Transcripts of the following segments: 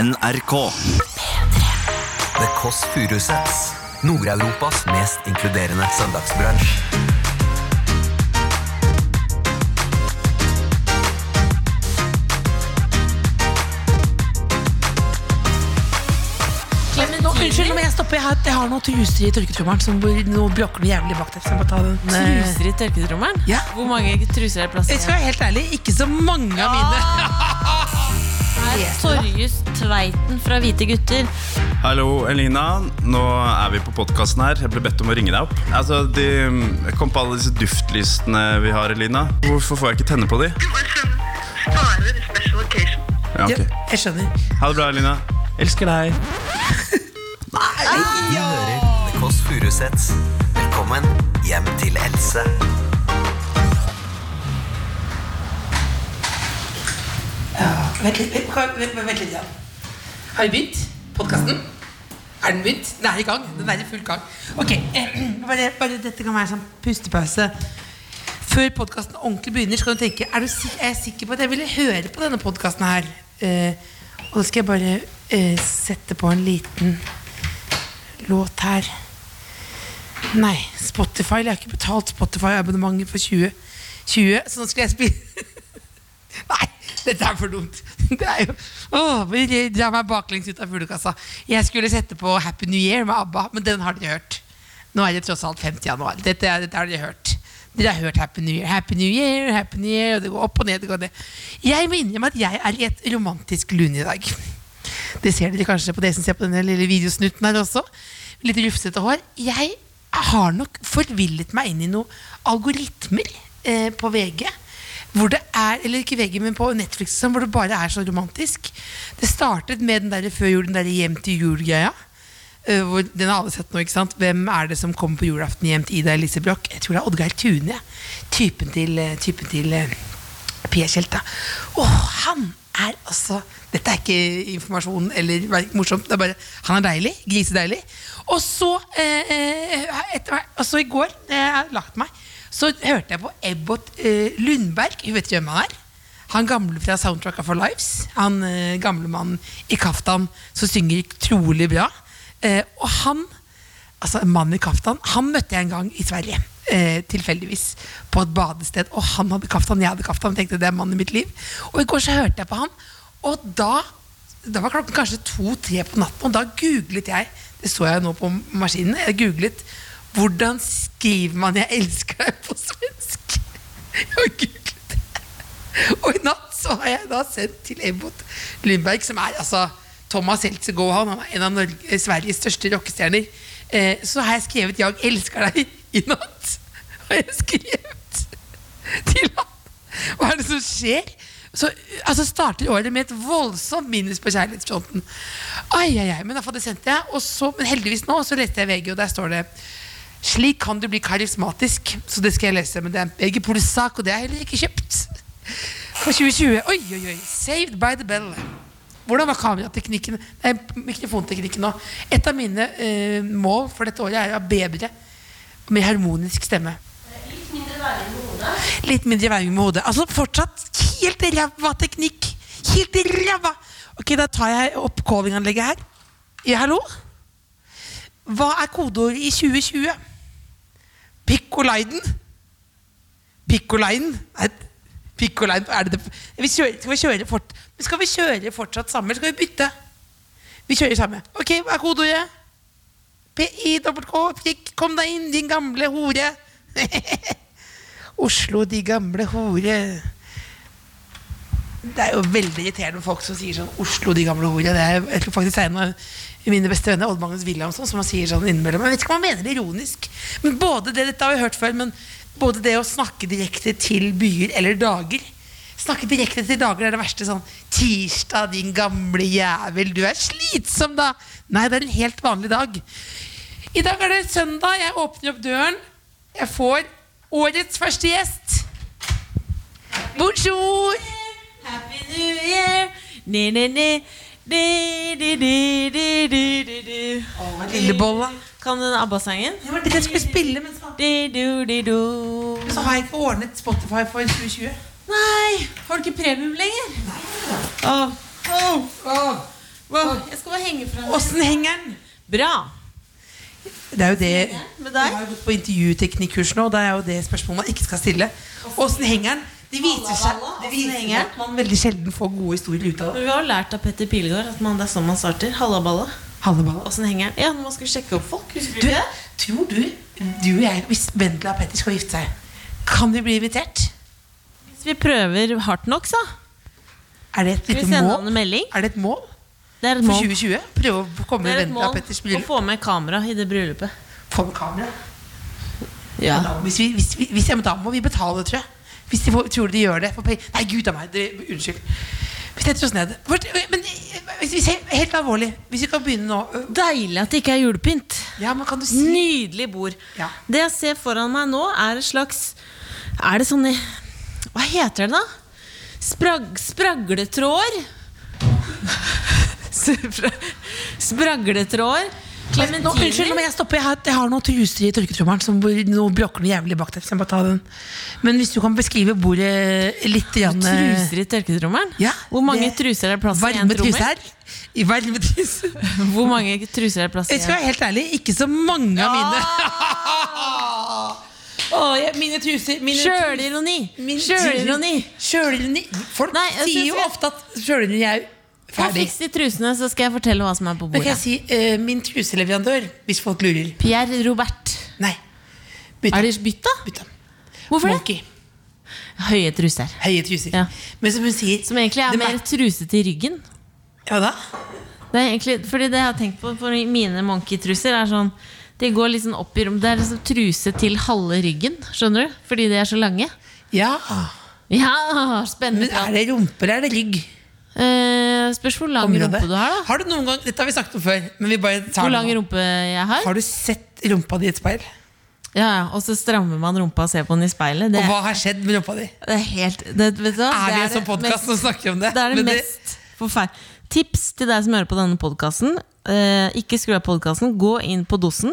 NRK. The Kåss Furuseths. Nord-Europas mest inkluderende søndagsbransj. Men nå, unnskyld, nå må jeg stoppe. Jeg har, jeg har noe truser i tørketrommelen som bor- nå bråker noe jævlig bak der. Så jeg må ta den. eh, Truser i tørketrommelen? Ja. Hvor mange truser er det plass Jeg skal til? være helt ærlig, ikke så mange av Ah! mine. Er Torjus Tveiten fra Hvite gutter. Hallo, Elina. Nå er vi på podkasten her. Jeg ble bedt om å ringe deg opp. Altså, de, Jeg kom på alle disse duftlysene vi har, Elina. Hvorfor får jeg ikke tenne på de? Ja, ok. Ja, Jeg skjønner. Ha det bra, Elina. Elsker deg. Du hører The Kåss Furuseths. Velkommen hjem til Else. Vent litt. vent- kan- vent- vent litt ja. Har vi begynt? Podkasten? Er den begynt? Den er i gang. Den er i full gang. Ok, bare, bare Dette kan være en sånn pustepause. Før podkasten ordentlig begynner, skal du tenke er, du, sik- er jeg sikker på at jeg ville høre på denne podkasten her. Eh, og da skal jeg bare eh, sette på en liten låt her. Nei, Spotify. Jeg har ikke betalt Spotify-abonnementet for 2020, 20, så nå skulle jeg spille Nei, dette er for dumt. Det er jo, åh, jeg drar meg baklengs ut av fuglekassa. Jeg skulle sette på Happy New Year med ABBA, men den har dere hørt. Nå er det tross alt 5. januar. Dette, er- dette har dere hørt. Dere har hørt Happy New Year, Happy New Year, Happy New Year, og det går opp og ned. Det går ned. Jeg må innrømme at jeg er i et romantisk lune i dag. Det ser dere kanskje på det som ser på denne lille videosnutten her også. Litt rufsete hår. Jeg har nok forvillet meg inn i noen algoritmer eh, på VG hvor det er, eller ikke VG, men på Netflix og sånn, hvor det bare er så romantisk. Det startet med den der før jul, den der hjem til jul-greia. eh, hvor Den har alle sett nå, ikke sant? Hvem er det som kommer på julaften hjem til Ida Elise Broch? Jeg tror det er Oddgeir Tune. jeg. Typen til, eh, typen til eh, Pia Tjelta. Åh, han er altså Dette er ikke informasjon eller vær- morsomt. Det er bare, han er deilig. Grisedeilig. Og så, eh, eh, etter, hvert- og så i går, eh, jeg har lagt meg, så hørte jeg på Ebbot eh, Lundberg. Hun vet ikke hvem han er. Han gamle fra Soundtracka for Lives. Han eh, gamle mannen i kaftan som synger utrolig bra. Eh, og han Altså, en mann i kaftan, han møtte jeg en gang i Sverige. Eh, tilfeldigvis. På et badested. Og han hadde kaftan, jeg hadde kaftan. Tenkte det er mannen i mitt liv. Og i går så hørte jeg på han, og da da var klokken kanskje to-tre på natten, og da googlet jeg Det så jeg nå på maskinen. Jeg googlet 'Hvordan skriver man 'Jeg elsker deg' på svensk? Jeg har googlet det. Og i natt så har jeg da sendt til Ebbot Lundberg, som er altså Thomas Heltzegå, han er en av Norge, eh, Sveriges største rockestjerner. Eh, så har jeg skrevet 'Jag elsker deg' i natt. Har jeg skrevet til han. Hva er det som skjer? Så altså, starter året med et voldsomt minus på kjærlighetsfronten. Ai, ai, ai, men iallfall det sendte jeg. Og så, men heldigvis nå så leste jeg VG, og der står det slik kan du bli karismatisk. Så det skal jeg lese. Men det er en VG Polisak, og det har jeg heller ikke kjøpt. For 2020. Oi, oi, oi. Saved by the bell. Hvordan var kamerateknikken Nei, mikrofonteknikken nå? Et av mine eh, mål for dette året er å ha bedre med harmonisk stemme. Litt mindre verving med hodet. Altså fortsatt helt ræva teknikk! Helt ræva! Ok, da tar jeg opp callinganlegget her. Ja, hallo? Hva er kodeordet i 2020? Pikkolaiden? Pikkolaiden? Nei, Pikkolaiden er det det vi kjører, Skal vi kjøre fort Men Skal vi kjøre fortsatt sammen, eller skal vi bytte? Vi kjører samme. Ok, hva er kodeordet? PI-dobbelt-K, prikk, kom deg inn, din gamle hore. Oslo, de gamle hore. Det er jo veldig irriterende med folk som sier sånn Oslo, de gamle hore. Det er jeg tror faktisk det er en av mine beste venner, Odd Magnus Williamson, som han sier sånn innimellom. Jeg vet ikke om han mener det ironisk. Men både det, dette har vi hørt før, men både det å snakke direkte til byer eller dager Snakke direkte til dager er det verste. Sånn 'Tirsdag, din gamle jævel, du er slitsom, da'. Nei, det er en helt vanlig dag. I dag er det søndag. Jeg åpner opp døren. Jeg får årets første gjest. Bonjour! Happy New Year! Ni, ni, ni. Di, di, di, di, di, di, di. Lillebolla. Kan du den ABBA-sangen? Det var det jeg skulle spille, men så, Di, du, di, du. men så har jeg ikke ordnet Spotify for 2020. Nei! Får du ikke premium lenger? Åh. Hva- Jeg skal bare henge fra meg. Åssen henger den? Bra. Det er jo det Med Jeg deg? har jo gått på intervjuteknikkurs nå, og det er jo det spørsmålet man ikke skal stille. Åssen henger den? Det viser seg, Halla, halla, det åssen viser seg henger den? at man veldig sjelden får gode historier ut av Men det. Vi har jo lært av Petter Pilgaard at man, det er sånn man starter. Hallaballa. Halleballa. Åssen henger den? Ja, når man skal sjekke opp folk. Husker Du, du det? tror du, du og jeg, hvis Vendela og Petter skal gifte seg, kan vi bli invitert? Hvis vi prøver hardt nok, så. Er det et Skal vi lite sende han mål? en melding? Er det et mål Det er et for mål. 2020? Prøve å komme Det er et Vendela mål og Petters å bryllup? få med kamera i det bryllupet. Få med kamera? Ja. Da, hvis vi, hvis vi, hvis, ja, men da må vi betale, tror jeg. Hvis de får, tror de gjør det for penger. Nei, gud a meg. Det, unnskyld. Vi setter oss ned. Hvor- Men hvis vi ser helt alvorlig Hvis vi kan begynne nå øh, Deilig at det ikke er julepynt. Ja, men kan du si Nydelig bord. Ja. Det jeg ser foran meg nå, er et slags Er det sånne Hva heter det, da? Sprag, spragletråder? Spra- spragletråder. Men nå, Unnskyld, nå må Klementiner. jeg stoppe. Jeg har, jeg har noe truser i tørketrommelen. Som nå bråker noe jævlig bak der. Så jeg må ta den. Men hvis du kan beskrive bordet litt grann, eh, Truser i tørketrommelen? Ja, Hvor mange det- truser er det plass i en Varme trommer? truser. I varme truser. Hvor mange truser er det plass i Jeg skal en være helt ærlig, ikke så mange av mine. Åh, jeg, mine truser mine truser- Sjølironi! Min- Sjølironi! Sjølironi Folk Nei, jeg sier synes jo jeg- ofte at sjølironi er Ta ferdig. fiks de trusene, så skal jeg fortelle hva som er på Men kan bordet. jeg si eh, min truseleverandør, hvis folk lurer? Pierre Robert. Nei. Bytt Er om. de bytta? Bytt om. Hvorfor det? Monkey. Høye truser. Høye truser. Ja. Men som hun sier Som egentlig er de mer trusete i ryggen. Hva da? Det er egentlig, fordi det jeg har tenkt på for mine monkeytruser, er sånn De går litt sånn opp i rom. Det er liksom truse til halve ryggen. Skjønner du? Fordi de er så lange. Ja. Ja, spennende Men er prat. det rumpe eller er det rygg? Eh, spørs hvor lang Området. rumpe du har, da. Har du noen gang Dette har vi snakket om før. Men vi bare tar Hvor det lang nå. rumpe jeg har. Har du sett rumpa di i et speil? Ja, ja, Og så strammer man rumpa og ser på den i speilet. Det, Og hva har skjedd med rumpa di? det er helt det, vet du, hva? Er vi det en sånn podkast mest- som snakker om det? Det er det Men mest forferdelige. Tips til deg som hører på denne podkasten. Eh, ikke skru av podkasten, gå inn på dosen.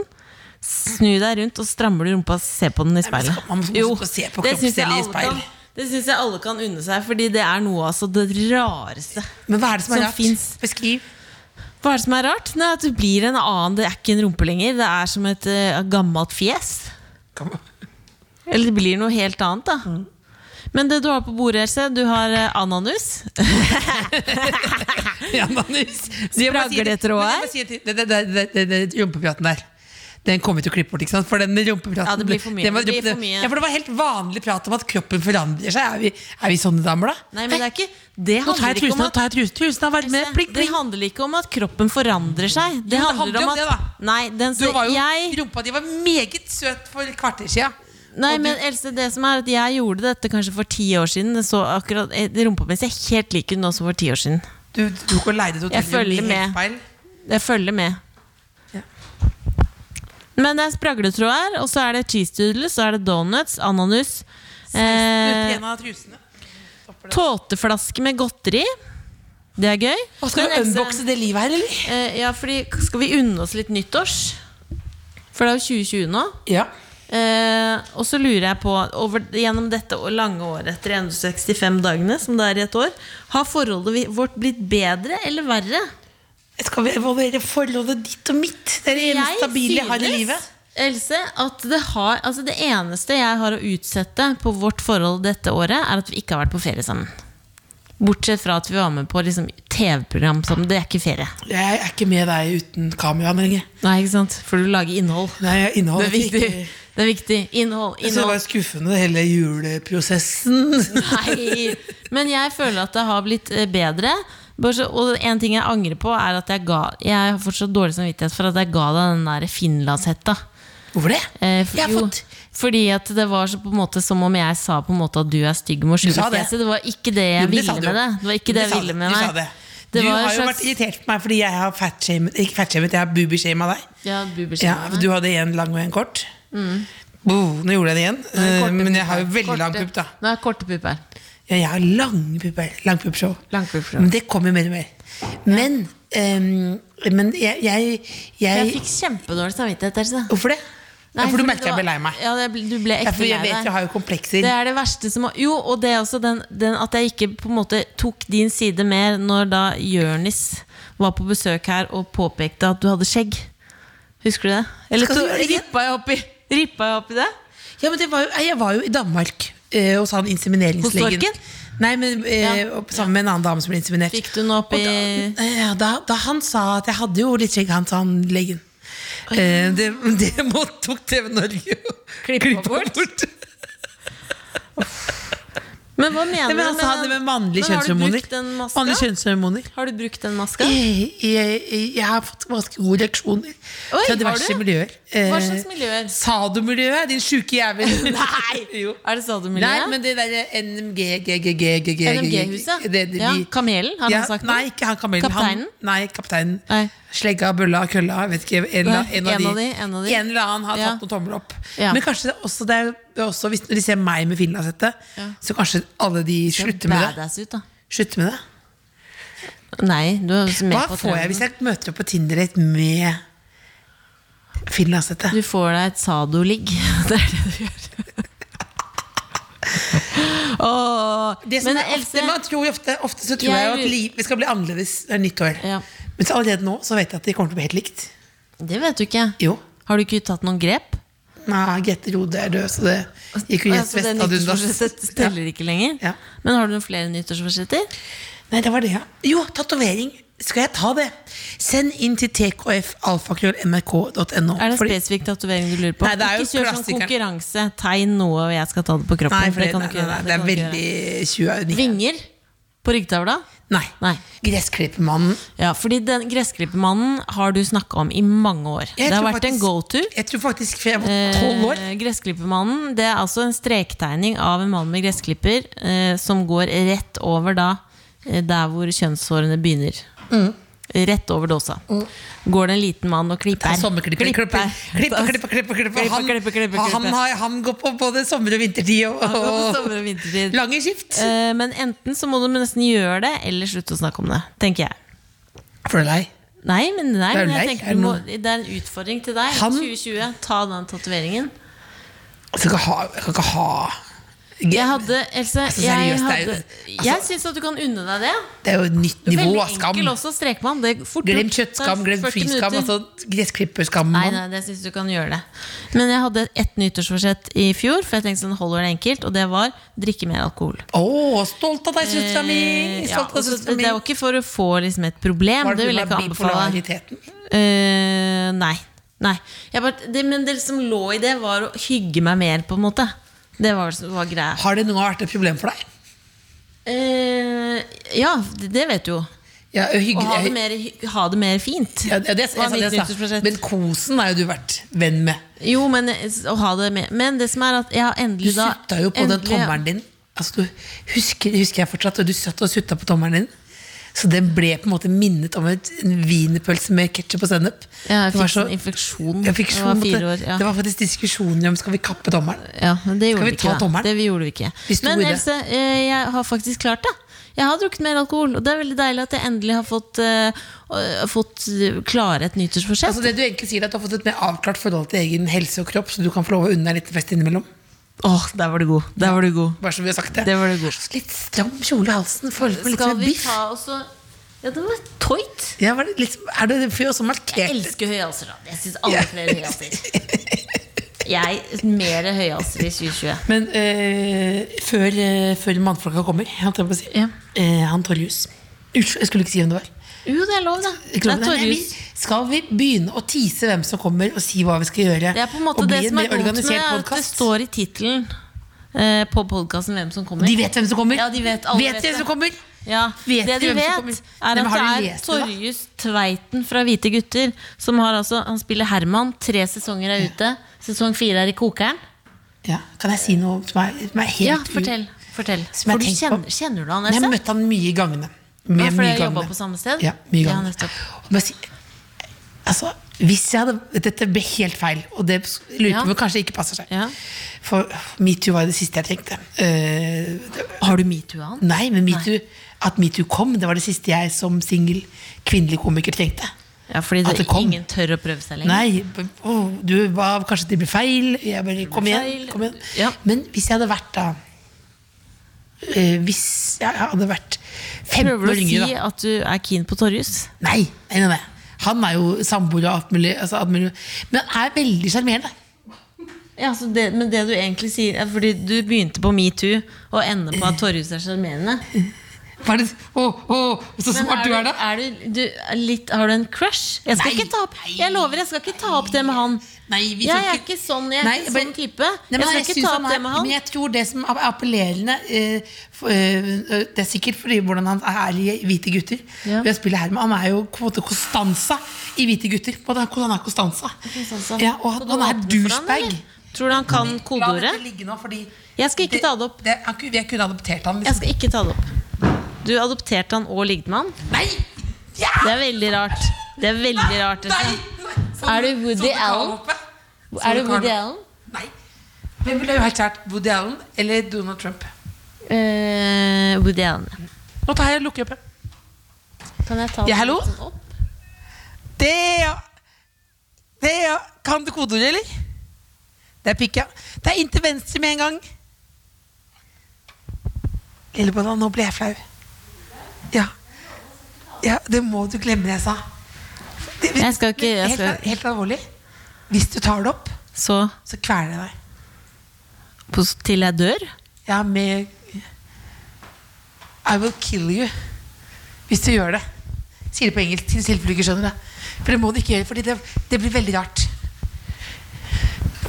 Snu deg rundt og strammer du rumpa, se på den i men speilet. skal- man må også se på det syns jeg kroppsdeler i alle speil. kan- Det syns jeg alle kan unne seg, fordi det er noe altså det rareste. Men hva er det som er Som rart? finnes. Beskriv. Hva er det som er rart? Nei, At du blir en annen. Det er ikke en rumpe lenger. Det er som et eh, gammelt fjes. Kom. Eller det blir noe helt annet, da. Mm. Men det du har på bordet, Else, du har eh, ananus. Ja, Magnus. Du, jeg må si det- Spragletråd men jeg må si det- det- det- det- det- det- det Rumpepraten der. Den kommer vi til å klippe bort, ikke sant? For den rumpepraten Ja, det blir for mye. den var- Det blir for mye. Ja, for det var helt vanlig prat om at kroppen forandrer seg. Er vi, er vi sånne damer, da? Nei, men det er ikke Det Nå tar handler jeg ikke trusen om av, at tar jeg trusen, trusen av varme. Else, Pling, Det pling. handler ikke om at kroppen forandrer seg. Det, det handler, handler om om at det, da. Nei, den, Du var jo, jeg, Rumpa di var meget søt for et kvarter siden. nei og du- men Else, det som er at jeg gjorde dette kanskje for ti år siden. Det så akkurat, eh, Rumpa mi ser helt lik ut nå som for ti år siden. Du du tok og leide et hotell Jeg følger med med. speil. Jeg følger med. Ja. Men det er spragletråder, og så er det cheese doodles, så er det donuts, ananas. Du Eh, pena trusene. tåteflaske med godteri. Det er gøy. Hva, skal Men vi Else- unboxe det livet her, eller? Eh, ja, fordi skal vi unne oss litt nyttårs? For det er jo 2020 nå. Ja. Eh, og så lurer jeg på over, Gjennom dette å- lange året etter 165 dagene, som det er i et år, har forholdet vi- vårt blitt bedre eller verre? Skal vi evaluere forholdet ditt og mitt? Det er det eneste stabile jeg har i livet. Else, at det, har, altså det eneste jeg har å utsette på vårt forhold dette året, er at vi ikke har vært på ferie sammen. Bortsett fra at vi var med på liksom, TV-program sammen. Det er ikke ferie. Jeg er ikke med deg uten kamera lenger. Nei, ikke sant? For du lager innhold. Nei, jeg Det inneholder er viktig. ikke. Det er viktig. Innhold. Jeg synes det innhold. var skuffende, hele juleprosessen. Nei. Men jeg føler at det har blitt eh, bedre. Bare så- Og en ting jeg angrer på, er at jeg ga Jeg har fortsatt dårlig samvittighet for at jeg ga deg den der finlandshetta. Hvorfor det? Eh, for- Jeg har jo, fått- Fordi at det var så på en måte som om jeg sa på en måte at du er stygg mot sa det. skjulefjeset. Det var ikke det jeg Jo, det sa ville du. med det. Det var ikke det Du sa jeg ville med Du meg. sa det. Du Det var har en jo slags- vært irritert på meg fordi jeg har fatshamet Ikke fatshamet, jeg har boobyshamet deg. Ja, Ja, buberskinnet. du hadde en lang og en kort. Bo, nå gjorde jeg det igjen. Mm. Nei, korte Eh, Men jeg har jo pupper. veldig lang Korte- pupp, da. Nå er jeg korte pupper. Ja, jeg har lange pupper. Langpuppshow. Langpuppshow. Men det kommer mer og mer. Men, ehm, men jeg, jeg, Jeg jeg fikk kjempedårlig samvittighet. Else. Hvorfor det? Ja, for du fordi merket jeg ble lei meg. Ja, det, ble- du ble Ja, ekte for jeg lei vet deg. jeg har jo komplekser. Det er det verste som har- Jo, og det er også den, den at jeg ikke på en måte tok din side mer når da Jørnis var på besøk her og påpekte at du hadde skjegg. Husker du det? Eller Skal du to, gjøre det igjen? rippa jeg opp i Rippa jeg opp i det? Ja, men det var jo, nei, jeg var jo i Danmark eh, hos han Hos insemineringslegen. Torken? Nei, men eh, Ja. opp- Sammen med en annen dame som ble inseminert. Fikk du den opp Og da, i- eh, ja, da, da han sa at jeg hadde jo litt skjegg, han sa han legen. Eh, det, det må- tok TV Norge å Klippa bort. Men hva mener Nei, men du han sa det med mannlige Men Har du kjønnshormoner. brukt den maska? Mannlige kjønnshormoner. Har du brukt den maska? Jeg, jeg, jeg har fått ganske gode reaksjoner Oi, fra har diverse du? miljøer. Hva slags miljøer? Sado-miljøet, din sjuke jævel. Nei! jo. Er det Nei, sadomiljøet? men det derre NMG GGGGG NMG-huset? Ja, Kamelen, har han sagt noe? Nei, ikke han kamelen. Kapteinen? Han, nei, kapteinen. Nei. Slegga, bølla, kølla. jeg Vet ikke, en, Nei, la- en, av, de, en av de. En eller annen har Ja. tatt noen tomler opp. Ja. Men kanskje det er også, det er, jo også hvis når de ser meg med finlandshette, så kanskje alle de Ser slutter med det. Badass ut, da. Slutter med det. Nei, du er også med Hva på får jeg trenden. hvis jeg møter opp på Tinder-date med finlandshette? Du får deg et sadoligg. Det er det du gjør. Åh, Det som men er ofte, Else, man tror jo ofte, ofte så tror Jeg jeg, jo lurer- at livet skal bli annerledes når det er nytt år. Ja. Men så allerede nå så vet jeg at det kommer til å bli helt likt. det vet du ikke. Jo. Har du ikke tatt noen grep? Nei, Grete Rode er død, så det gikk jo Åh, i ja, Jens så Altså, det Vest ad undas. nyttårsforsettet teller ikke lenger? Ja. Men har du noen flere nyttårsforsetter? Nei, det var det, ja. Jo, tatovering. Skal jeg ta det? Send inn til tkfalfakrøllmrk.no. Er det en Fordi- spesifikk tatovering du lurer på? Nei, det er jo ikke kjør sånn klassikeren. konkurranse. Tegn noe, og jeg skal ta det på kroppen. Nei, for det det, kan du nei, ikke nei, gjøre. nei, det Det er kan du ikke gjøre. veldig 20 Vinger på ryggtavla? Nei. Nei. Gressklippermannen. Ja, fordi den gressklippermannen har du snakka om i mange år. Jeg det har tror vært en faktisk- go-to. Jeg tror faktisk for jeg var tolv år. Eh, gressklippermannen Det er altså en strektegning av en mann med gressklipper eh, som går rett over da eh, der hvor kjønnshårene begynner. Mm. Rett over dåsa. Går det en liten mann og klipper. Ja, Mm. Sommerklipper. Klipper, klipper, klipper, klipper, klipper, Han, Klipper, klipper, klipper, Han, klipper. har, han går på både sommer- og vintertid og, På og sommer- og vintertid. lange skift. Eh, Men enten så må du nesten gjøre det, eller slutte å snakke om det. Tenker jeg. For det er lei. Nei, men, nei, Det er jo men jeg lei, tenker er du det må, noe- det er en utfordring til deg. Han- 2020, ta den tatoveringen. Jeg kan ikke ha, jeg kan ikke ha. Jeg hadde, Else, Altså, jeg, seriøst, det er jo- hadde, jeg syns at du kan unne deg det. Det er jo et nytt nivå Veldig av skam. enkel også, strekmann. Det er fort Glem gjort. kjøttskam, Det er glem 40 friskam. minutter. Altså, Gressklipperskam. Nei, nei, det syns du kan gjøre det. Men jeg hadde ett nyttårsforsett i fjor, for jeg tenkte sånn holder det enkelt, og det var drikke mer alkohol. Å, stolt av deg, søstera mi! Eh, ja, Stolt av altså, søstera det mi. var ikke for å få liksom, et problem, Var det vil pga. jeg ikke anbefale. bipolariteten? Eh, nei. nei. Jeg bare, det, men det som lå i det, var å hygge meg mer, på en måte. Det var, var greia. Har det noen gang vært et problem for deg? Eh, ja, det, det vet du jo. Ja, hygge, Å ha det mer, hy- ha det mer fint. ja, det, jeg, var sa- mitt jeg, sa. nyttårsforsett. Men kosen har jo du vært venn med. Jo, men, eh, s- å ha det mer. men det som er at jeg har Du endelig da sutta jo på den endelig- tommelen din. Altså, du, husker, husker jeg fortsatt, og du satt og sutta på tommelen din. Så den ble på en måte minnet om et, en wienerpølse med ketsjup og sennep. Ja, jeg Det var fikk så- en infeksjon. Jeg fikk Det så var måtte- fire år. Ja. Det var faktisk diskusjoner om skal vi kappe tommelen. Ja, men det gjorde Skal vi vi ta ikke. da. tommelen? Det vi gjorde vi ikke. Vi sto Men i det. Else, eh, jeg har faktisk klart det. Jeg har drukket mer alkohol, og det er veldig deilig at jeg endelig har fått, eh, øh, fått eh, klare et nyttårsforsett. Altså det du egentlig sier er at du har fått et mer avklart forhold til egen helse og kropp, så du kan få lov å unne deg en liten fest innimellom. Åh, der var du god. Der var du god. Bare så vi har sagt det. Det var du god. Litt stram kjole i halsen, føler meg litt Skal som en vi biff. ta også Ja, det var tøyt. Ja, var det litt, er det en fyr som Jeg markerte elsker høyhalser, da. Jeg syns alle flere høyhalser. Jeg mer høyhalser i 2020. Men eh, før, eh, før mannfolka kommer, holdt jeg på å si. Ja. Eh, han Torjus. Unnskyld, jeg skulle ikke si hvem det var. Jo, det er lov, det. Jeg Det tror er det er- Torjus. Nei, vi- Skal vi begynne å tease hvem som kommer, og si hva vi skal gjøre? Det er på en måte og bli det som mer er vondt med det, organisert er at det podcast? står i tittelen eh, på podkasten hvem som kommer. De vet hvem som kommer? Ja, de vet, alle vet vet de det. hvem som kommer? Ja, Vet det du de hvem som vet, kommer? er Nei, men at har du det er lest det, da? Torjus Tveiten fra Hvite gutter. Som har altså, han spiller Herman. Tre sesonger er ute. Sesong fire er i kokeren. Ja, kan jeg si noe som er, som er helt Ja, u- fortell. fortell. Som jeg For du tenker kjenner, på. kjenner du han, Jeg har Else? møtt han mye i gangene. Ja, Mye- for mye i dere jobba gangene. på samme sted? Ja, mye i Ja, gangene. nettopp. Og bare si, altså, hvis jeg hadde Dette ble helt feil, og det lurer Ja. på om det kanskje ikke passer seg. Ja. For metoo var det siste jeg tenkte. Eh, det, Har du metoo han? nei, men metoo, at metoo kom, det var det siste jeg som singel kvinnelig komiker trengte. Ja, fordi At det, det kom. ingen tør å prøve seg lenger. Nei, b- å, du, hva, kanskje det blir feil. Jeg bare, kom igjen. feil. Kom igjen. Ja. Men hvis jeg hadde vært da eh, Hvis jeg hadde vært 15 Prøver du år å si yngre, da. at du er keen på Torjus? Nei, nei, nei, nei. Han er jo samboer og alt mulig. Altså, alt mulig. Men han er veldig sjarmerende. Ja, så det, men det du egentlig sier er Fordi du begynte på metoo og ender på at Torjus er sjarmerende. Hva er det- Å, å, så Men smart du er, da! er du, du er litt, har du en crush? Jeg skal Nei, ikke ta opp nei, Jeg lover, jeg skal ikke ta opp det med han. Nei, vi skal jeg er ikke sånn, jeg er Nei, ikke men- sånn type. Nei, men jeg skal ikke synes ta han opp er- det med han. Men jeg tror det som er appellerende eh, f- eh, Det er sikkert fordi hvordan han er i Hvite gutter. Ja. Og Jeg spiller her med Han er jo på en måte Costanza i Hvite gutter. På det, han er Costanza. Costanza. Ja, Så og han, du åpner han er for han, douchebag. eller? Tror du han kan La kodeordet? dette ligge nå, fordi Jeg skal ikke ta det opp. han kunne- jeg kunne adoptert han. Jeg Liksom. skal ikke ta det opp. Du adopterte han og ligget med han? Nei! Ja! Det er veldig rart. Det er veldig rart. Nei! Sånn Espen. Nei! Er du Woody Sånn Allen? kaloppe. Er Sånn du Woody kaloppe. Allen? Nei. Hvem ville jeg jo helt klart Woody Allen eller Donald Trump? Eh, Woody Allen. Nå tar jeg og lukker opp. jeg. Kan jeg ta Ja, den hallo? litt sånn opp? Det Det Kan du kodeordet, eller? Det er pikk, ja. Det er inn til venstre med en gang. Lillebonna, nå ble jeg flau. Ja. ja. Det må du glemme det jeg sa. Det- Jeg skal ikke- jeg helt, skal- helt alvorlig. Hvis du tar det opp, Så så kveler jeg deg. på, til jeg dør? Ja, med I will kill you Hvis du gjør det Sier det på engelsk, til tilfelle du ikke skjønner det For det må du ikke gjøre, fordi det, det blir veldig rart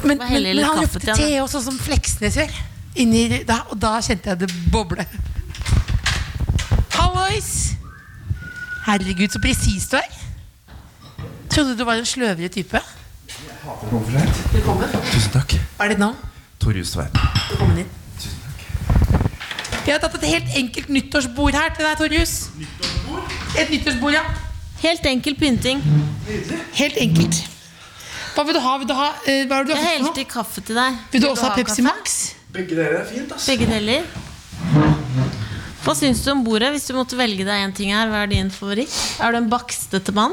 Men, Bare men, helle men litt han kaffe løftet til han, te også Som Fleksnes gjør inni, da, Og da kjente jeg det boble Hallois Herregud, så presis du er Trodde du var en sløvere type Velkommen Tusen takk. Hva er ditt navn? Torjus Tveit. Velkommen inn. Vi har tatt et helt enkelt nyttårsbord her til deg, Torjus. Et nyttårsbord, ja. Helt enkel pynting. Helt enkelt. Hva vil du ha? Vil du ha eh, hva er det du Jeg har fått for noe? helte kaffe til deg. Vil du også ha ha Pepsi kaffe? Max? Begge dere er fint, ass. Begge deler. Hva syns du om bordet? Hvis du måtte velge deg en ting her, hva er din favoritt? Er du en bakstete mann?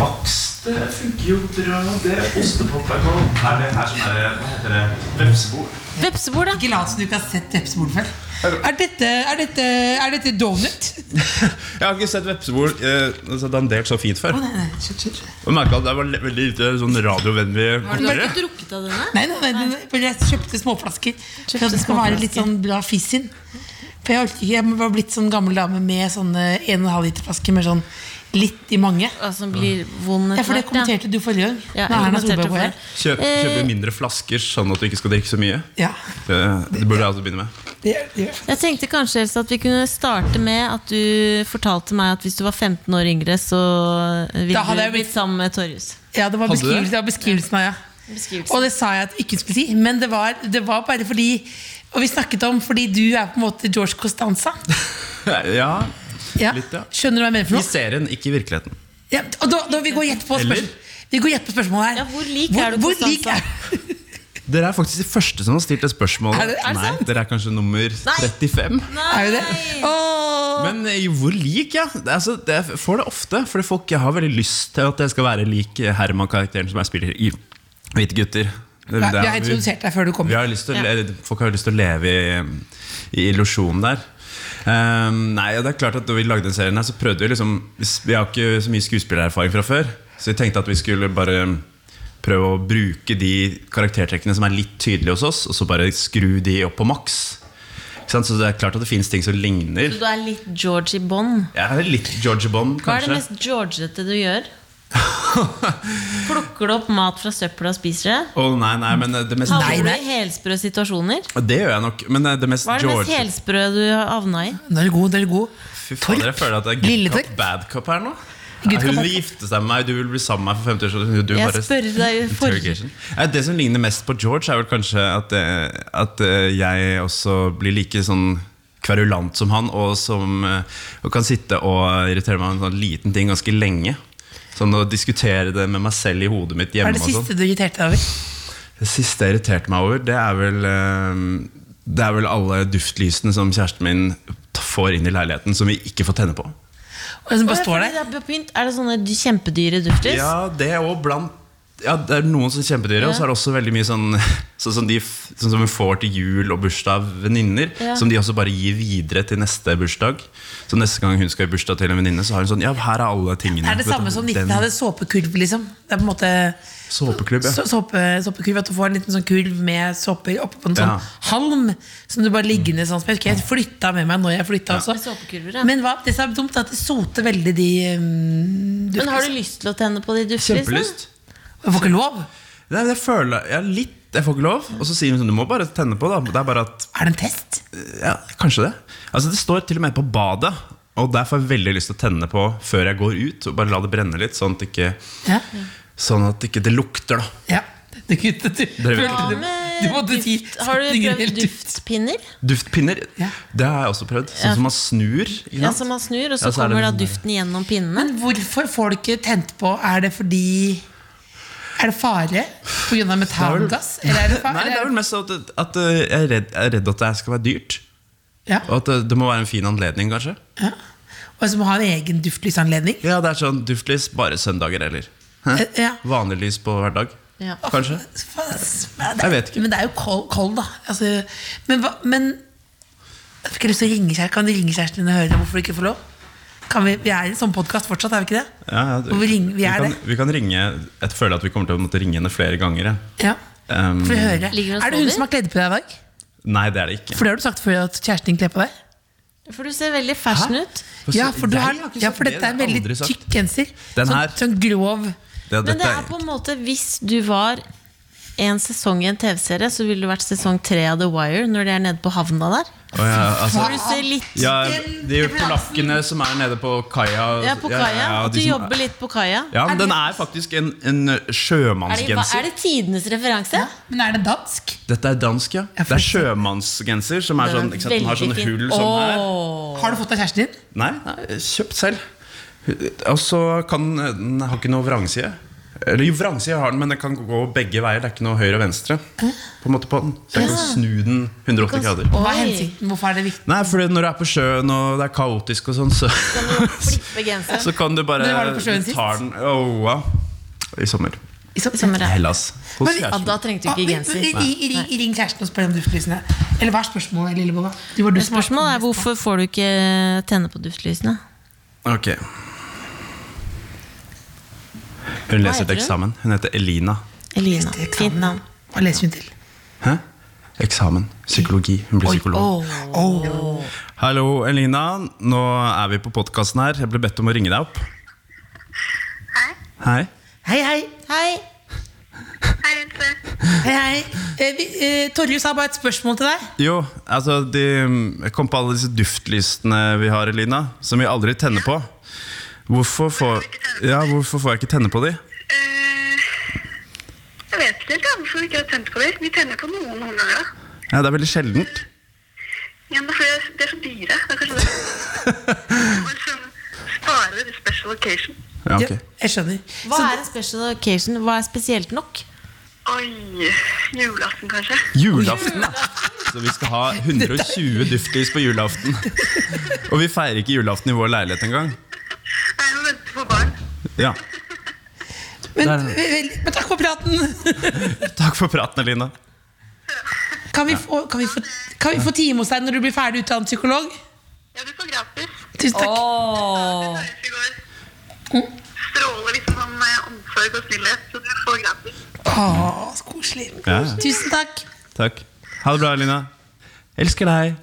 Bakst, det funker jo bra. Det er ostepop er på. Er det her som er Hva heter det? Vepsebol? Vepsebord, da. Ikke lat som du ikke har sett Pepsi-bord før. Er dette, er, dette, er dette donut? Jeg har ikke sett vepsebol eh, altså, dandert så fint før. Å, nei, nei, skjønt, skjønt. Og merket at det var le- veldig lite sånn radiovennlig Du har kokkere. ikke drukket av denne? Nei, nei, nei, nei, nei, for jeg kjøpte småflasker For at det skal være småflasker. litt sånn bra fiss inn For jeg orker ikke, jeg var blitt sånn gammel dame Med sånne 1,5 liter flasker Med sånn litt i mange Ja, Som blir vond Ja, etter for det hvert, ja. kommenterte du forrige gang. Ja, Nå er Erna jeg kommenterte Solberg på her. før. Kjøp, kjøpe mindre flasker, sånn at du ikke skal drikke så mye. Ja, Det, det burde jeg altså begynne med. det, det. Jeg tenkte kanskje Else, at vi kunne starte med at du fortalte meg at hvis du var 15 år yngre, så ville Da hadde du jeg blitt- blitt sammen med Torjus. ja det var Hadde du det? beskrivelsen, det var beskrivelsen av ja. Beskrivelsen. Og det sa jeg at vi ikke skulle si, men det var, det var bare fordi Og vi snakket om fordi du er på en måte George Costanza. Ja, Ja. Litt, ja. Skjønner du hva jeg mener for I noe? serien, ikke i virkeligheten. Ja, og da, da vi går gjett på spørsmål. Eller? Vi går gjett på spørsmålet her. Ja, hvor lik er du hvor Costanza? lik er, Dere er faktisk de første som har stilt det spørsmålet. Er det- er det Nei, sant? dere er kanskje nummer 35. er vi det? Men eh, hvor lik, ja? Det, er altså, det, jeg får det ofte. Fordi folk har veldig lyst til at jeg skal være lik eh, Herman-karakteren som jeg spiller i Hvite gutter. Det- Nei, det vi er- har introdusert deg før du kom. Vi har lyst til å, le- Folk har lyst til å leve i, eh, i illusjonen der. Ehm, nei, og det er klart at Da vi lagde den serien, her, så prøvde vi liksom Vi har ikke så mye skuespillererfaring fra før, så vi tenkte at vi skulle bare ehm, prøve å bruke de karaktertrekkene som er litt tydelige hos oss, og så bare skru de opp på maks. Ikke sant? Så det er klart at det finnes ting som ligner. Du er litt George i bånn. Jeg er litt George Bond, Hva er det kanskje. mest georgete du gjør? Plukker du opp mat fra søpla og spiser det? Å, nei, nei, men det mest Nei, Havner du nei. i helsprø situasjoner? Det gjør jeg nok. Men eh, det mest Hva er det mest George helsprø du har havna i? Nå er du god, nå er du god. Fy fader, jeg føler at det er Lille good cop, Torp. bad cop her nå. Good Ja, hun cop, vil gifte seg med meg, du vil bli sammen med meg for 50 år siden. Du Jeg bare- spør deg jo for- Interrogation. Nei, Det som ligner mest på George, er vel kanskje at, eh, at eh, jeg også blir like sånn kverulant som han, og som eh, og kan sitte og irritere meg om en sånn liten ting ganske lenge. Sånn å diskutere det med meg selv i hodet mitt Hva hjemme. er det og sånn. siste du irriterte deg over? Det siste jeg irriterte meg over, det er vel eh, Det er vel alle duftlysene som kjæresten min t- får inn i leiligheten, som vi ikke får tenne på. Og som bare står der. Er det sånne dy- kjempedyre duftis? Ja, det og blant ja, Det er noen som er kjempedyre, og så er det også veldig mye sånn Sånn som, de, f- sånn som vi får til jul og bursdag av venninner, Ja. som de også bare gir videre til neste bursdag. Så neste gang hun skal i bursdag til en venninne, så har hun sånn Ja, her er alle tingene. Det er det Vet du, samme som 90 den hadde såpekurv, liksom. Det er på en måte Såpeklubb, ja. så, såpe, såpekurv, At du får en liten sånn kurv med såper oppå en sånn Ja. Mm. halm som du bare liggende sånn. som Jeg husker jeg flytta med meg når jeg flytta også. Såpekurver, ja. Men hva, det som er dumt, er at det soter veldig de um, Men har du lyst til å tenne på de duftlysene? Kjempelyst. Jeg får ikke lov. Nei, men jeg føler Jeg er litt jeg får ikke lov. Og så sier hun sånn Du må bare tenne på, da. Det er bare at Er det en test? Ja, kanskje det. Altså Det står til og med på badet. Og der får jeg veldig lyst til å tenne på før jeg går ut. Og bare la det brenne litt, sånn at ikke, Ja. sånn at ikke det lukter, da. ja. Det kunne du Dere vet følte Hva du- med Du måtte si duft? Har du setningen prøvd helt ut. duftpinner? Duftpinner, Ja. det har jeg også prøvd. Sånn som man snur. ikke Ja, sant? som man snur, og så Ja, så er det liksom- sånn- kommer da den- duften gjennom pinnene. Men hvorfor får du ikke tent på? Er det fordi Er det fare pga. metangass? Eller er det fare? Nei, det er vel mest at, at uh, jeg, er redd, jeg er redd at det her skal være dyrt. ja. Og at uh, det må være en fin anledning, kanskje. ja. Og som har en egen duftlysanledning? Ja, det er sånn duftlys bare søndager eller Eh, Ja. vanlig lys på hverdag. Ja. Kanskje. Faen, ass. Men det- Jeg vet ikke. Men det er jo kold, kold da. Altså, men, hva, men jeg fikk lyst til å ringe kjæresten Kan du ringe kjæresten din og høre hvorfor du ikke får lov? Kan vi, vi er i en sånn podkast fortsatt, er vi ikke det? Ja, ja, Hvor vi, ringer, vi er kan, det. vi kan ringe Jeg føler at vi kommer til å måtte ringe henne flere ganger. jeg. Ja. Um, For å høre. Ligger hun og Er det hun sover? som har kledd på deg i dag? Nei, det er det ikke. For det har du sagt før at kjæresten din kler på deg? For du ser veldig fashion ut. Hva Ja, sa- for, du Altså, Jeg har, har ikke ja, sagt for det, dette det er en har jeg veldig aldri sagt. tykk genser. Den her. Sånn, sånn grov. Men Det, det dette er på en måte Hvis du var en sesong i en TV-serie, så ville du vært sesong tre av The Wire når de er nede på havna der. Å, ja, altså, For du ser litt ja, Den De plassen. polakkene som er nede på kaia. ja, på ja, kaia. ja, at de du som- jobber litt på kaia. Ja, men den er faktisk en, en eh, Er det, hva, sjømannsgenser. er det tidenes referanse? Men er det dansk? Dette er dansk, ja. Ja, Det for- er sjømannsgenser som er Den er sånn, ikke sant, den har sånne veldig fin. hull sånn her. Har du fått av kjæresten din? Nei, nei, kjøpt selv. Og så kan den har ikke noe vrangside. Eller jo, vrangside har den, men den kan gå begge veier. Det er ikke noe høyre og venstre. På en måte på den Så jeg kan snu den 180 grader. Og hva er Oi. hensikten? Hvorfor er det viktig? Nei, for når du er på sjøen og det er kaotisk og sånn, så, Kan du flippe genseren? så kan du bare Når var du på sjøen du tar sist? den oh, wow. I sommer. I som- Sommer, ja. Hellas. Hos Men- Ja, kjæresten. da trengte du Ah, ikke men- genser. ring- ring- Ring kjæresten og spør om duftlysene. Eller hva er spørsmålet, Lillebolla? Det var du som- Spørsmålet er hvorfor får du ikke tenne på duftlysene? Ok Hun leser heter til hun? eksamen. Hun heter Elina. Elina. Til eksamen. Fint navn. Hva leser hun til? Hæ? Eksamen. Psykologi. Hun blir psykolog. Hallo, Elina. Nå er vi på podkasten her. Jeg ble bedt om å ringe deg opp. Hei. Hei, hei. Hei. Hei, Jente. hei, hei. Eh, vi- eh, Torjus har bare et spørsmål til deg. Jo, altså de, Jeg kom på alle disse duftlystene vi har, Elina, som vi aldri tenner på. Hvorfor får, ja, hvorfor får jeg ikke tenne på de? Eh, jeg vet ikke helt ja, hvorfor vi ikke har tent på det. Vi tenner på noen noen ganger. da. Ja, det er veldig sjeldent. Ja, men det er fordi de er så dyre. Det er kanskje det. Man må liksom spare de special occasion. Ja, ok. Ja, jeg skjønner. Hva Så- er en special occasion? Hva er spesielt nok? Oi, julaften kanskje. Julaften, da. Så vi skal ha 120 duftlys på julaften. Og vi feirer ikke julaften i vår leilighet engang. Nei, vi må vente på barn. Ja. men, Der er vel, men takk for praten! Takk for praten, Elina. Kan vi få, kan vi få, kan vi få time hos deg når du blir ferdig utdannet psykolog? Ja, du får gratis. Tusen takk. Det høres i går. Stråler liksom sånn eh, omsorg og snillhet, så du får gratis. Åh, så koselig. Ja, Tusen takk. takk. Ha det bra, Elina. Elsker deg.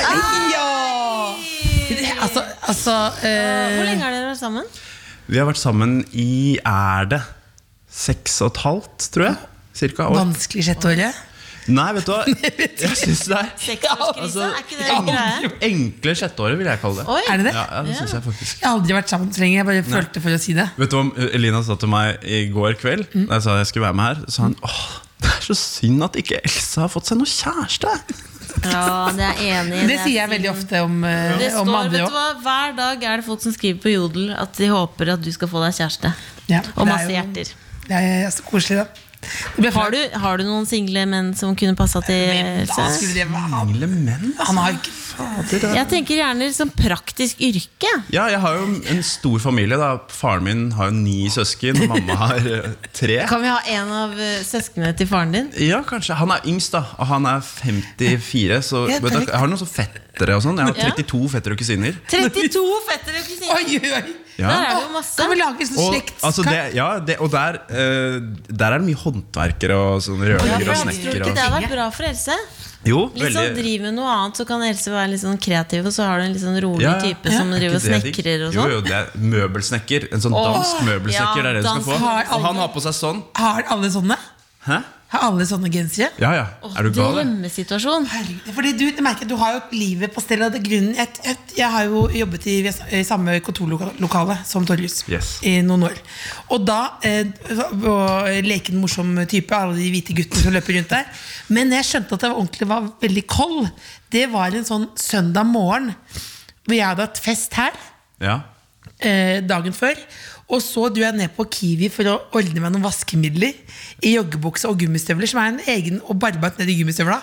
Ja! Altså, altså eh, Hvor lenge har dere vært sammen? Vi har vært sammen i Er det seks og et halvt, tror jeg? Cirka år. Vanskelig sjette året. Nei, vet du hva? Jeg syns det er Seksårskrisa? Er ikke det en greie? Enkle sjetteåret, vil jeg kalle det. Oi. Er det det? Ja, ja, det synes jeg faktisk Jeg har aldri vært sammen så lenge. Jeg bare følte for å si det. Vet du hva Elina sa til meg i går kveld? Mm. Da jeg sa jeg skulle være med her, så sa hun åh, det er så synd at ikke Elsa har fått seg noe kjæreste. Ja, det er jeg enig i. Det er sier jeg veldig synd. ofte om, eh, Det om står, andre vet du òg. hva, Hver dag er det folk som skriver på Jodel at de håper at du skal få deg kjæreste. Ja, Og det er masse jo- hjerter. Det er så koselig, da. Det ble Har flaut. du, har du noen single menn som kunne passa til Men da Else? skulle det være Single menn? Han har jo ikke Jeg tenker gjerne som praktisk yrke. Ja, jeg har jo en stor familie. da Faren min har jo ni søsken, og mamma har eh, tre. Kan vi ha en av eh, søsknene til faren din? Ja, kanskje. Han er yngst, da. Og han er 54. Så Ja, vet du, perfekt. jeg har noen sånne fettere og sånn. Ja. Jeg har 32 fettere og kusiner. 32 fettere og kusiner! Oi, oi, oi! Ja. Der er det jo masse. Kan vi lage en sånn Og, slekts... altså det, ja, det, og der, eh, der er det mye håndverkere og sånn rørleggere og for jeg tror snekkere. ikke det og- hadde vært bra for Else. Jo, Litt sånn veldig Driv med noe annet, så kan Else være litt sånn kreativ, og så har du en litt sånn rolig Ja, ja. type som Er driver og ikke det digg? snekrer og Jo, sånn. jo, det er møbelsnekker. En sånn dansk møbelsnekker. ja, det er det du skal dansk få. har Og han alle- har på seg sånn. Har alle sånne? Hæ? Har alle sånne gensere? Ja, ja. Er du gal? eller? Drømmesituasjon. Herregud, Fordi du, jeg merker, at du har jo livet på stell. Og det er grunnen, jeg, jeg, jeg har jo jobbet i, i samme kontorlokale som Torjus Yes. i noen år. Og da eh, og eh, leken morsom type, alle de hvite guttene som løper rundt der. Men jeg skjønte at det var ordentlig var veldig kold. Det var en sånn søndag morgen hvor jeg hadde hatt fest her Ja. eh, dagen før. Og så dro jeg ned på Kiwi for å ordne meg noen vaskemidler i joggebukse og gummistøvler, som er en egen og barbart ned i gummistøvla,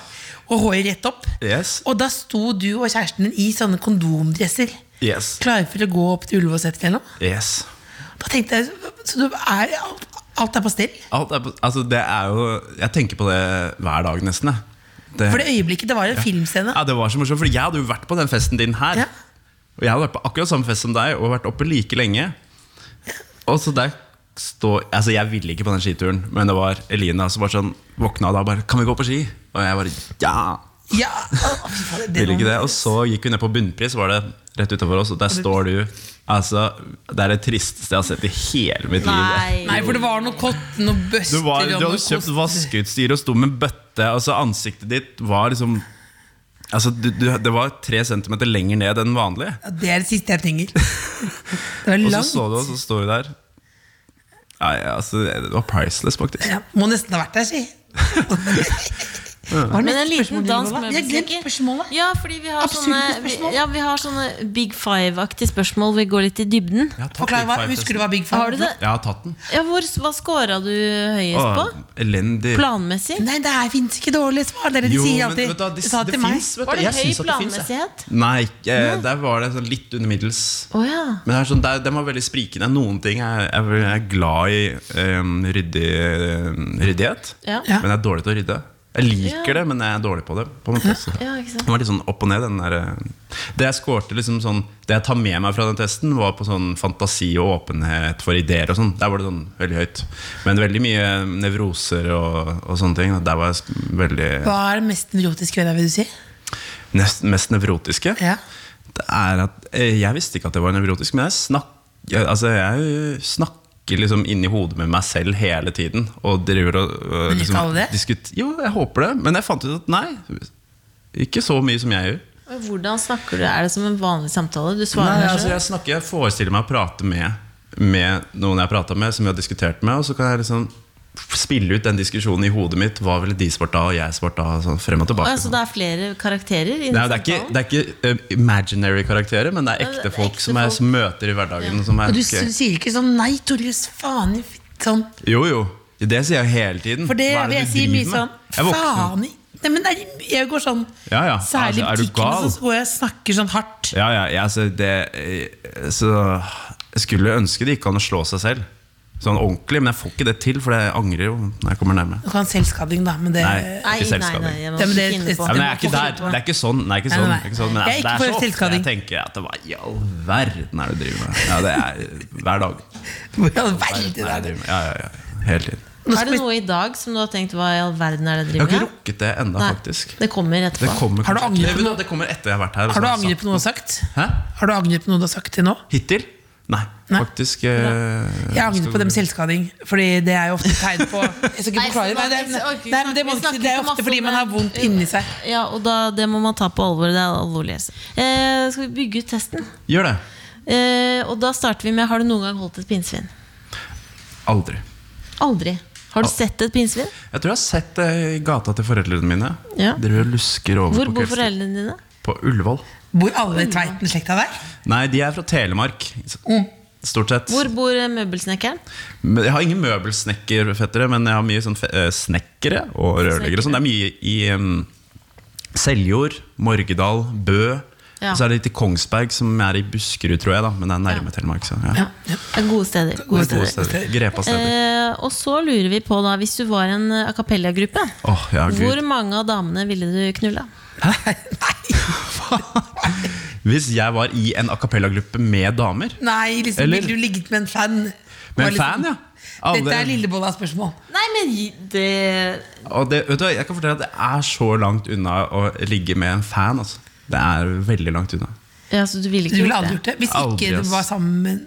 og håret rett opp. Yes. Og da sto du og kjæresten din i sånne kondomdresser, Yes. klare for å gå opp til Ullevålseter eller noe. yes. Da tenkte jeg Så du er alt, alt er på stell? Alt er på, altså, det er jo Jeg tenker på det hver dag, nesten. jeg. Det, For det øyeblikket det var en filmscene. Ja, det var så morsomt, fordi jeg hadde jo vært på den festen din her. Ja. Og jeg hadde vært på akkurat samme fest som deg og vært oppe like lenge. Og så der står Altså, jeg ville ikke på den skituren, men det var Elina som var sånn våkna da og bare 'Kan vi gå på ski?' Og jeg bare 'Ja'. Ja! Å, fy faen, Ville ikke var- det. Og så gikk vi ned på Bunnpris, var det rett utenfor oss, og der står du. Altså, Det er det tristeste jeg har sett i hele mitt liv. Nei. Nei, for det var noe kotten og Du, bøster var, og du noe hadde kjøpt kost- vaskeutstyr og sto med en bøtte. Altså Ansiktet ditt var liksom Altså, du, du, Det var tre centimeter lenger ned enn vanlig. Ja, Det er det siste jeg trenger. Det var Og så langt. så du oss, og så står vi der. Nei, altså, Det var priceless, faktisk. Ja, må nesten ha vært der, si. Var det Men neste en liten spørsmål du dansk ville ha? Jeg har glemt spørsmålet. møbelsnekker. Ja, fordi vi har Absurde sånne, spørsmål. ja, vi har sånne Big Five-aktige spørsmål. Vi går litt i dybden. Jeg har tatt Forklar, Big hva, Five-testen. husker du hva Big Five Har du det? Jeg har tatt den. Ja, hvor, hva scora du høyest på? Å, elendig. Planmessig? Nei, det fins ikke dårlige svar. Dere Jo, sier men alltid vet du hva, de- de sa det til meg. finnes, vet du. Var det Jeg høy syns at det finnes, jeg. planmessighet? Nei, eh, der var det sånn litt under middels. Å ja. Men det er sånn, det er, de var veldig sprikende. Noen ting er jeg er glad i em, ryddig, em, ryddighet, Ja. Ja. men jeg er dårlig til å rydde. Jeg liker Ja. det, men jeg er dårlig på det. På en måte. Så Ja, ikke sant. Det var litt sånn opp og ned. Den der, eh, det jeg skårte liksom sånn Det jeg tar med meg fra den testen, var på sånn fantasi og åpenhet for ideer. og sånn Der var det sånn veldig høyt. Men veldig mye nevroser og, og sånne ting. Der var jeg s- veldig Hva er det mest nevrotiske ved deg, vil du si? nest, mest nevrotiske. Ja. Det er at eh, Jeg visste ikke at jeg var nevrotisk, men jeg snakker, jeg, altså jeg snakker liksom inni hodet med meg selv hele tiden. Og driver og øh, Men gjør ikke liksom, alle det? diskut- Jo, jeg håper det, men jeg fant ut at nei. Ikke så mye som jeg gjør. Men Hvordan snakker du? Er det som en vanlig samtale? Du svarer Nei, deg altså selv? jeg, snakker, jeg forestiller meg å prate med Med noen jeg har pratet med, som jeg har diskutert med. Og så kan jeg liksom spille ut den diskusjonen i hodet mitt. Hva ville de svart da, og jeg svart da? og Sånn, frem og Å tilbake. ja, så det er flere karakterer? i Nei, den det er ikke, samtalen? det er ikke eh, imaginary karakterer, men det er Nei, det ekte er folk, ekte som, jeg, folk. som møter i hverdagen. Som er, Og du ok. s- sier ikke sånn 'nei, Torjus, faen i fitt', sånn. Jo, jo. Det sier jeg hele tiden. For det, Hva er vil du jeg si mye driver sånn med? Jeg våkner- faen i Nei, men det er- jeg går sånn Ja, ja. Særlig i Altså, er du butikken, gal? så går jeg og snakker sånn hardt. Ja, ja, ja så, det, eh, så jeg skulle ønske det gikk an å slå seg selv. Sånn ordentlig, men jeg får ikke det til, for jeg angrer jo når jeg kommer nærme. Du kan ha selvskading, da, men det Nei. Nei, nei, ikke nei, selvskading. jeg Ja, må men ikke det- inne på Ja, må men jeg er ikke der. fortsette på. Det er ikke sånn. Det er ikke Nei, sånn, nei, nei. Ikke sånn Jeg men er det ikke er så for ofte selvskading. jeg tenker at det var I all verden er det du driver med? Ja, det er hver dag. Hvor i all verden er Nei, jeg det? driver med- Ja, ja, ja. Hele tiden. Er det noe i dag som du har tenkt hva i all verden er det jeg Jeg har ikke driver med? rukket det ennå, Nei, faktisk. Det kommer etterpå. Det kommer Har du kanskje- angret Nei, på vet du noe? hva, Det kommer etter jeg har vært her. og Har du så jeg angret på noe du har sagt? sånn Hæ? Har du angret på noe du har sagt til nå? Hittil? Nei, Nei. faktisk eh, Jeg angrer på det med selvskading. Fordi det er jo ofte tegn på Jeg skal ikke Nei, forklare så nei, det. man- er- orker ikke Nei, men snakke- vi det, må du ikke si. snakker det er ikke masse ofte fordi om man det. har vondt inni seg. Ja, og da, det må man ta på alvor. Det er alvorlig. altså. Eh, skal vi bygge ut testen? Gjør det. Eh, og da starter vi med Har du noen gang holdt et pinnsvin? Aldri. Aldri. Har Ah. du sett et pinnsvin? Jeg tror jeg har sett det i gata til foreldrene mine. Ja. Driver og lusker over Hvor på bor kveldstid. foreldrene dine? På Ullevål. Bor alle i Tveiten-slekta der? Mm. Mm. Nei, de er fra Telemark. Stort sett. Hvor bor eh, møbelsnekkeren? Men Jeg har ingen møbelsnekkerfettere, men jeg har mye sånn fe- eh, snekkere og rørleggere. og sånn. Det er mye i um, Seljord, Morgedal, Bø. Ja. Og så er det litt i Kongsberg, som er i Buskerud, tror jeg. da Men det er nærme Telemark. Så, ja. Det er Gode steder. Gode Gode steder. steder. Grepa steder. Eh, og så lurer vi på, da, hvis du var en eh, a cappella-gruppe, Åh, ja, Gud. hvor mange av damene ville du knulla? Hvis jeg var i en a cappella-gruppe med damer Nei, liksom, Eller- ville du ligget med en fan? Med Og en fan, ja. Alle- Dette er Lillebolla-spørsmål. Nei, men gi- det Og det, vet du, hva, jeg kan fortelle at det er så langt unna å ligge med en fan. Altså. Det er veldig langt unna. ja, så du ville Du ikke ville gjort aldri det? gjort det hvis Aldri, ikke du ass. var sammen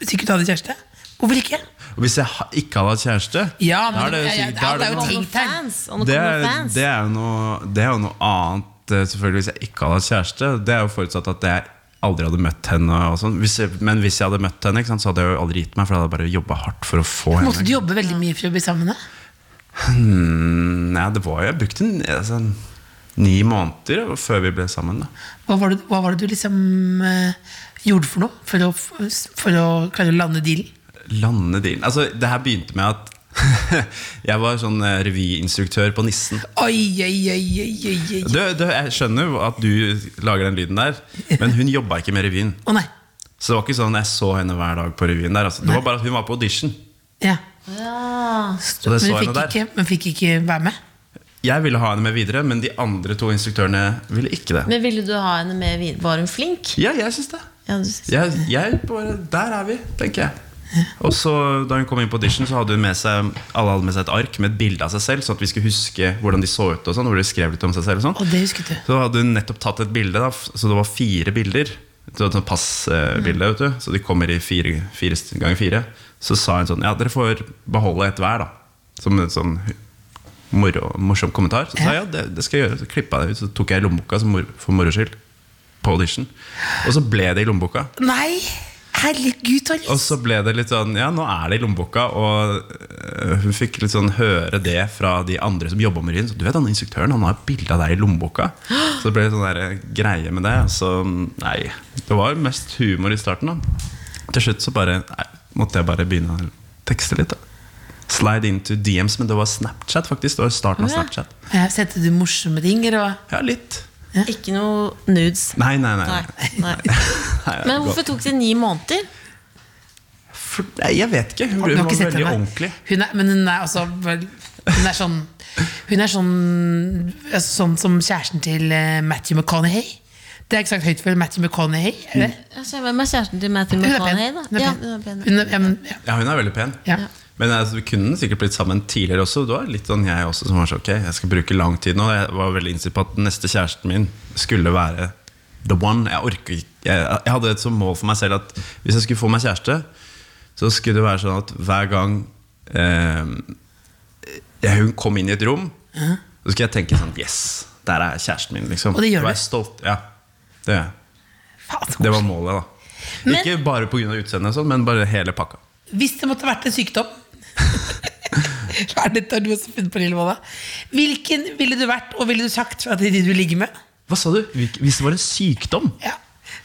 Hvis ikke du hadde kjæreste? Hvorfor ikke? Og hvis jeg ha- ikke hadde hatt kjæreste Ja, da men er det, jo ja, ja, sikkert- da alt er jo det- Om ting. noen fans, om det, noen er, fans. det, er jo noe, det er jo noe annet eh, Selvfølgelig hvis jeg ikke hadde hatt kjæreste Det er jo forutsatt at jeg aldri hadde møtt henne og sånn. hvis jeg, Men hvis jeg hadde møtt henne ikke sant, Så hadde jeg jo aldri gitt meg For jeg hadde bare jobbet hardt for å få henne Måtte du jobbe veldig mye for å bli sammen med henne? Hmm, Nei, det var jo Jeg brukte en- altså, ni måneder Før vi ble sammen da. Hva var det, hva var det du liksom eh, gjorde for noe for å, for å klare å lande dealen? Lande dealen altså, Det her begynte med at Jeg var sånn eh, revyinstruktør på Nissen Oi, oi, oi, oi, oi, oi. du, du, Jeg skjønner jo at du lager den lyden der Men hun jobbet ikke med revyen Å nei. Så det var ikke sånn jeg så henne hver dag på revyen der. Altså. Det var bare at hun var på audition. Ja. Ja. Og det men, så fikk henne der. ikke, men fikk ikke være med? Jeg ville ha henne med videre, men de andre to instruktørene ville ikke det. Men ville du ha henne med videre? Var hun flink? Ja, jeg syns det. Ja, du synes- Jeg, jeg bare, der er vi, tenker jeg. Og så Da hun kom inn på audition, Så hadde hun med seg alle hadde med seg et ark med et bilde av seg selv, sånn at vi skulle huske hvordan de så ut. og sånn, hvor de skrev litt om seg selv og sånn. Og det husket du. Så hadde hun nettopp tatt et bilde, da, f- så det var fire bilder. Det var et sånt passbilde, vet du. Så de kommer i fire, fire st- ganger fire. Så sa hun sånn Ja, dere får beholde et hver, da. Som en sånn moro, morsom kommentar. Så sa jeg ja, det, det skal jeg gjøre. Så klippa jeg det ut, så tok jeg i lommeboka som mor, for moro skyld. På audition. Og så ble det i lommeboka. Nei! Herregud, Torjus. Og så ble det litt sånn Ja, nå er det i lommeboka. Og øh, hun fikk litt sånn høre det fra de andre som jobba med revyen. Så Du vet han instruktøren, han har bilde av deg i lommeboka. Så det ble litt sånn der greie med det. Så nei. Det var mest humor i starten, da. Til slutt så bare nei, måtte jeg bare begynne å tekste litt, da. Slide into DMs, men det var Snapchat, faktisk. Det var starten av Ja. Snapchat. Ja, Sendte du morsomme ting? eller hva? Ja, litt. Ikke noe nudes? Nei, nei, nei. Nei. nei. nei. Nei, Men godt. hvorfor tok det ni måneder? For- nei, jeg vet ikke. Du Hun, hun har var ikke sett veldig henne? ordentlig. Hun er, men hun er altså vel- Hun er sånn Hun er sånn altså, Sånn som kjæresten til eh, Matthew McConaughey. Det har jeg ikke sagt høyt før. Matthew McConaughey. Er det? Altså, hvem er kjæresten til Matthew Hun er pen. McConaughey? da? Hun er Ja, pen. hun er pen. Hun er, ja, men, ja. Ja, hun er veldig pen. Ja. Men altså, vi kunne sikkert blitt sammen tidligere også. Det var litt sånn jeg også som var sånn, ok, jeg skal bruke lang tid nå. Jeg var veldig innstilt på at den neste kjæresten min skulle være the one. Jeg orker ikke. Jeg, jeg hadde et som mål for meg selv at hvis jeg skulle få meg kjæreste, så skulle det være sånn at hver gang eh, jeg, hun kom inn i et rom, så skulle jeg tenke sånn, yes, der er kjæresten min, liksom. Og det gjør Jeg var du? Stolt. Ja, det gjør jeg. Faen, så Det var koselig. målet, da. Men- Ikke bare pga. utseendet, og sånn, men bare hele pakka. Hvis det måtte vært en sykdom Hva er dette du har funnet på, Lillebolla? Hvilken ville du vært, og ville du sagt fra til de du ligger med? Hva sa du? Hvis det var en sykdom? Ja,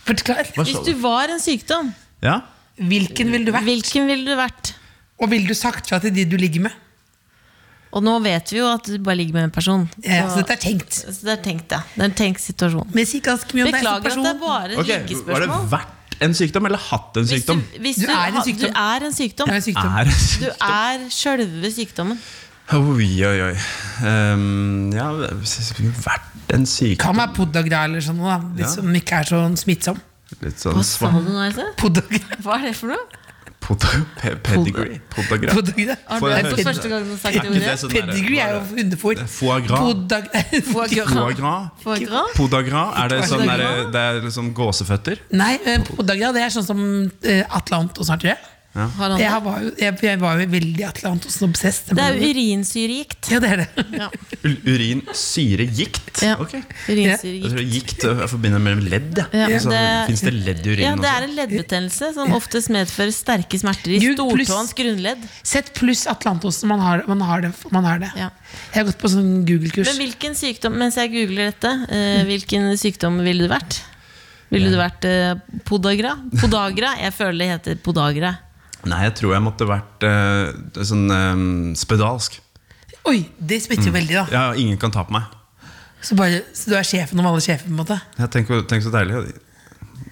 Forklar. Hva Hvis sa du var en sykdom, Ja? Hvilken ville du vært, hvilken ville du vært? og ville du sagt fra til de du ligger med? Og nå vet vi jo at du bare ligger med en person. Ja, så Eh, altså, dette er tenkt. Så det er tenkt, ja. Det er en tenkt situasjon. Men si ganske mye om deg som Beklager at person. det er bare Ok, Var det liggespørsmål. vært en sykdom, eller hatt en Hvis du, sykdom? hvis Du du, er en ha- sykdom. du er en sykdom. Det er en sykdom. Er en Du sykdom? er sjølve sykdommen. Oi, oi, oi. Um, ja, hvis det skulle vært Kan en sykdom være podagra eller sånn, da. Litt Ja. som ikke er så smittsom. Litt sånn Hva sa svart du nå, Else? Podagra. Hva er det for noe? poda- pe- Pedigree. Podagra. podagra. Har Får du jeg hørt høre? for første gang du har sagt det Er ikke ordet? det sånn der- Pedigree er jo hundefôr. Foie gras. Podag- Foie gras. Foie gras? Podagra. Er det sånn Podagra? der, det er liksom gåseføtter? Nei, eh, podagra det er sånn som eh, Atlantosen har, tror jeg. Har han det? Jeg var jo, jeg, jeg var jo veldig Atlantosen obsess. Det er jo urinsyregikt. Ja, det er det. U- Urin, syre, gikt? Ja. Ok. Jeg Urinsyregikt. tror gikt øh, jeg forbinder med ledd. Ja, Ja. det- Fins det ledd i urinen Ja, det er også? en leddbetennelse som oftest medfører sterke smerter i Gud, pluss- stortåens grunnledd. Sett pluss Atlantosen. Man har, man har det. Man har det. Ja. Jeg har gått på sånn Google-kurs. Men hvilken sykdom, mens jeg googler dette, eh, hvilken sykdom ville du vært? Ville du vært eh, podagra? Podagra? Jeg føler det heter podagra. Nei, jeg tror jeg måtte vært eh, sånn eh, spedalsk. Oi, det smitter jo veldig, da. Mm. Ja, ingen kan ta på meg. Så, bare, så du er sjefen om alle sjefer? på en måte Ja, tenk, tenk så deilig.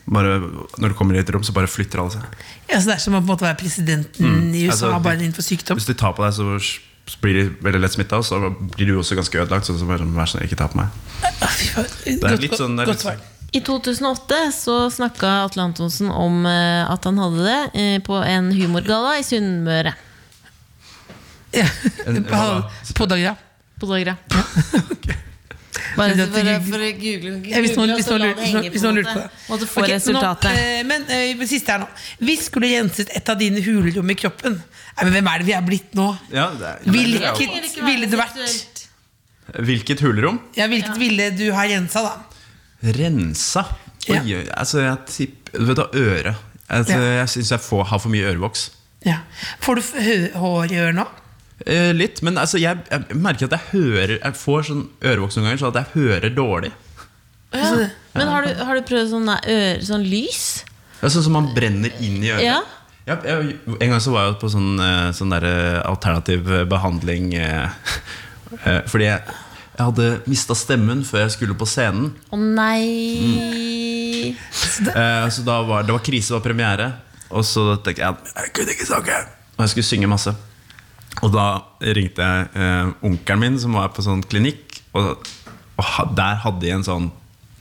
Bare, når du kommer i et rom, så bare flytter alle seg. ja, så Det er som å på en måte være presidenten i USA, Altså, bare de- innenfor sykdom. Hvis de tar på deg, så s- blir de veldig lett smitta, og så blir du også ganske ødelagt. Så, så bare, sånn, vær så snill, ikke ta på meg. Å, fy faen. Det er Godt- litt sånn, det godt er litt svar. sånn I 2008 så snakka Atle Antonsen om eh, at han hadde det eh, på en humorgalla i Sunnmøre. Ja. En- På, på dager, ja. Podagra. Bare for, Men det for, at du- å google, google Ja, hvis noen, hvis og så noen, la det lurer, hvis noen, henge hvis noen lurer på måte. det. Måtte få Ok, resultatet. Nå, eh, men eh, det siste her nå. Hvis skulle du renset et av dine hulrom i kroppen Nei, men Hvem er det vi er blitt nå? ja, det er, Hvilket ville du vært? sånn, Hvilket hulrom? Ja, hvilket ville du ha rensa, da? Rensa. Oi, altså, jeg tipper Du vet da, øret. Altså, Ja. Jeg syns jeg får, har for mye ørevoks. Ja. Får du f- hø- hår i øret nå? Eh, litt, men altså, jeg, jeg merker at jeg hører Jeg får sånn ørevoks noen ganger, så at jeg hører dårlig. Ja. Men har du, har du prøvd sånn, der øre, sånn lys? Det er sånn som man brenner inn i øret. Ja. Ja, jeg, en gang så var jeg på sånn, eh, sånn der eh, alternativ eh, behandling eh, eh, Fordi jeg, jeg hadde mista stemmen før jeg skulle på scenen. Å nei! Eh, Så da var det var krise, det var premiere. Og så tenkte jeg jeg kunne ikke snakke. Og jeg skulle synge masse. Og da ringte jeg eh, onkelen min, som var på sånn klinikk. Og, og ha- der hadde de en sånn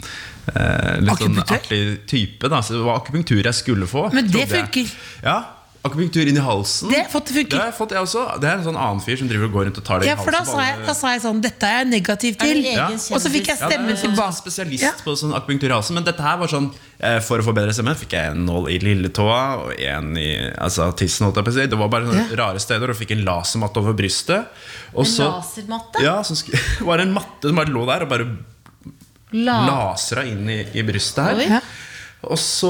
eh, litt sånn Akupunktør? artig type. Da. Så det var akupunktur jeg skulle få. Men det trodde jeg. funker. Ja, Akupunktur inn i halsen. Det har jeg fått, det funker. Det har jeg fått, jeg også. Det er en sånn annen fyr som driver og går rundt og tar det Ja, i halsen. for da på sa jeg, alle- da sa jeg sånn Dette er jeg negativ Er til. det Ja. egen kjendis? Og så fikk jeg Ja, det er stemmen sånn tilbake. Spesialist Ja. på sånn akupunktur i halsen. Men dette her var sånn eh, For å få bedre stemme fikk jeg en nål i lilletåa og en i altså, tissen. Holdt jeg på å si. Det var bare sånne rare steder. Og fikk en lasermatte over brystet. Og En så lasermatte? Ja, så sk var det en matte som bare lå der og bare La. lasra inn i, i brystet her. Oi. Ja. Og så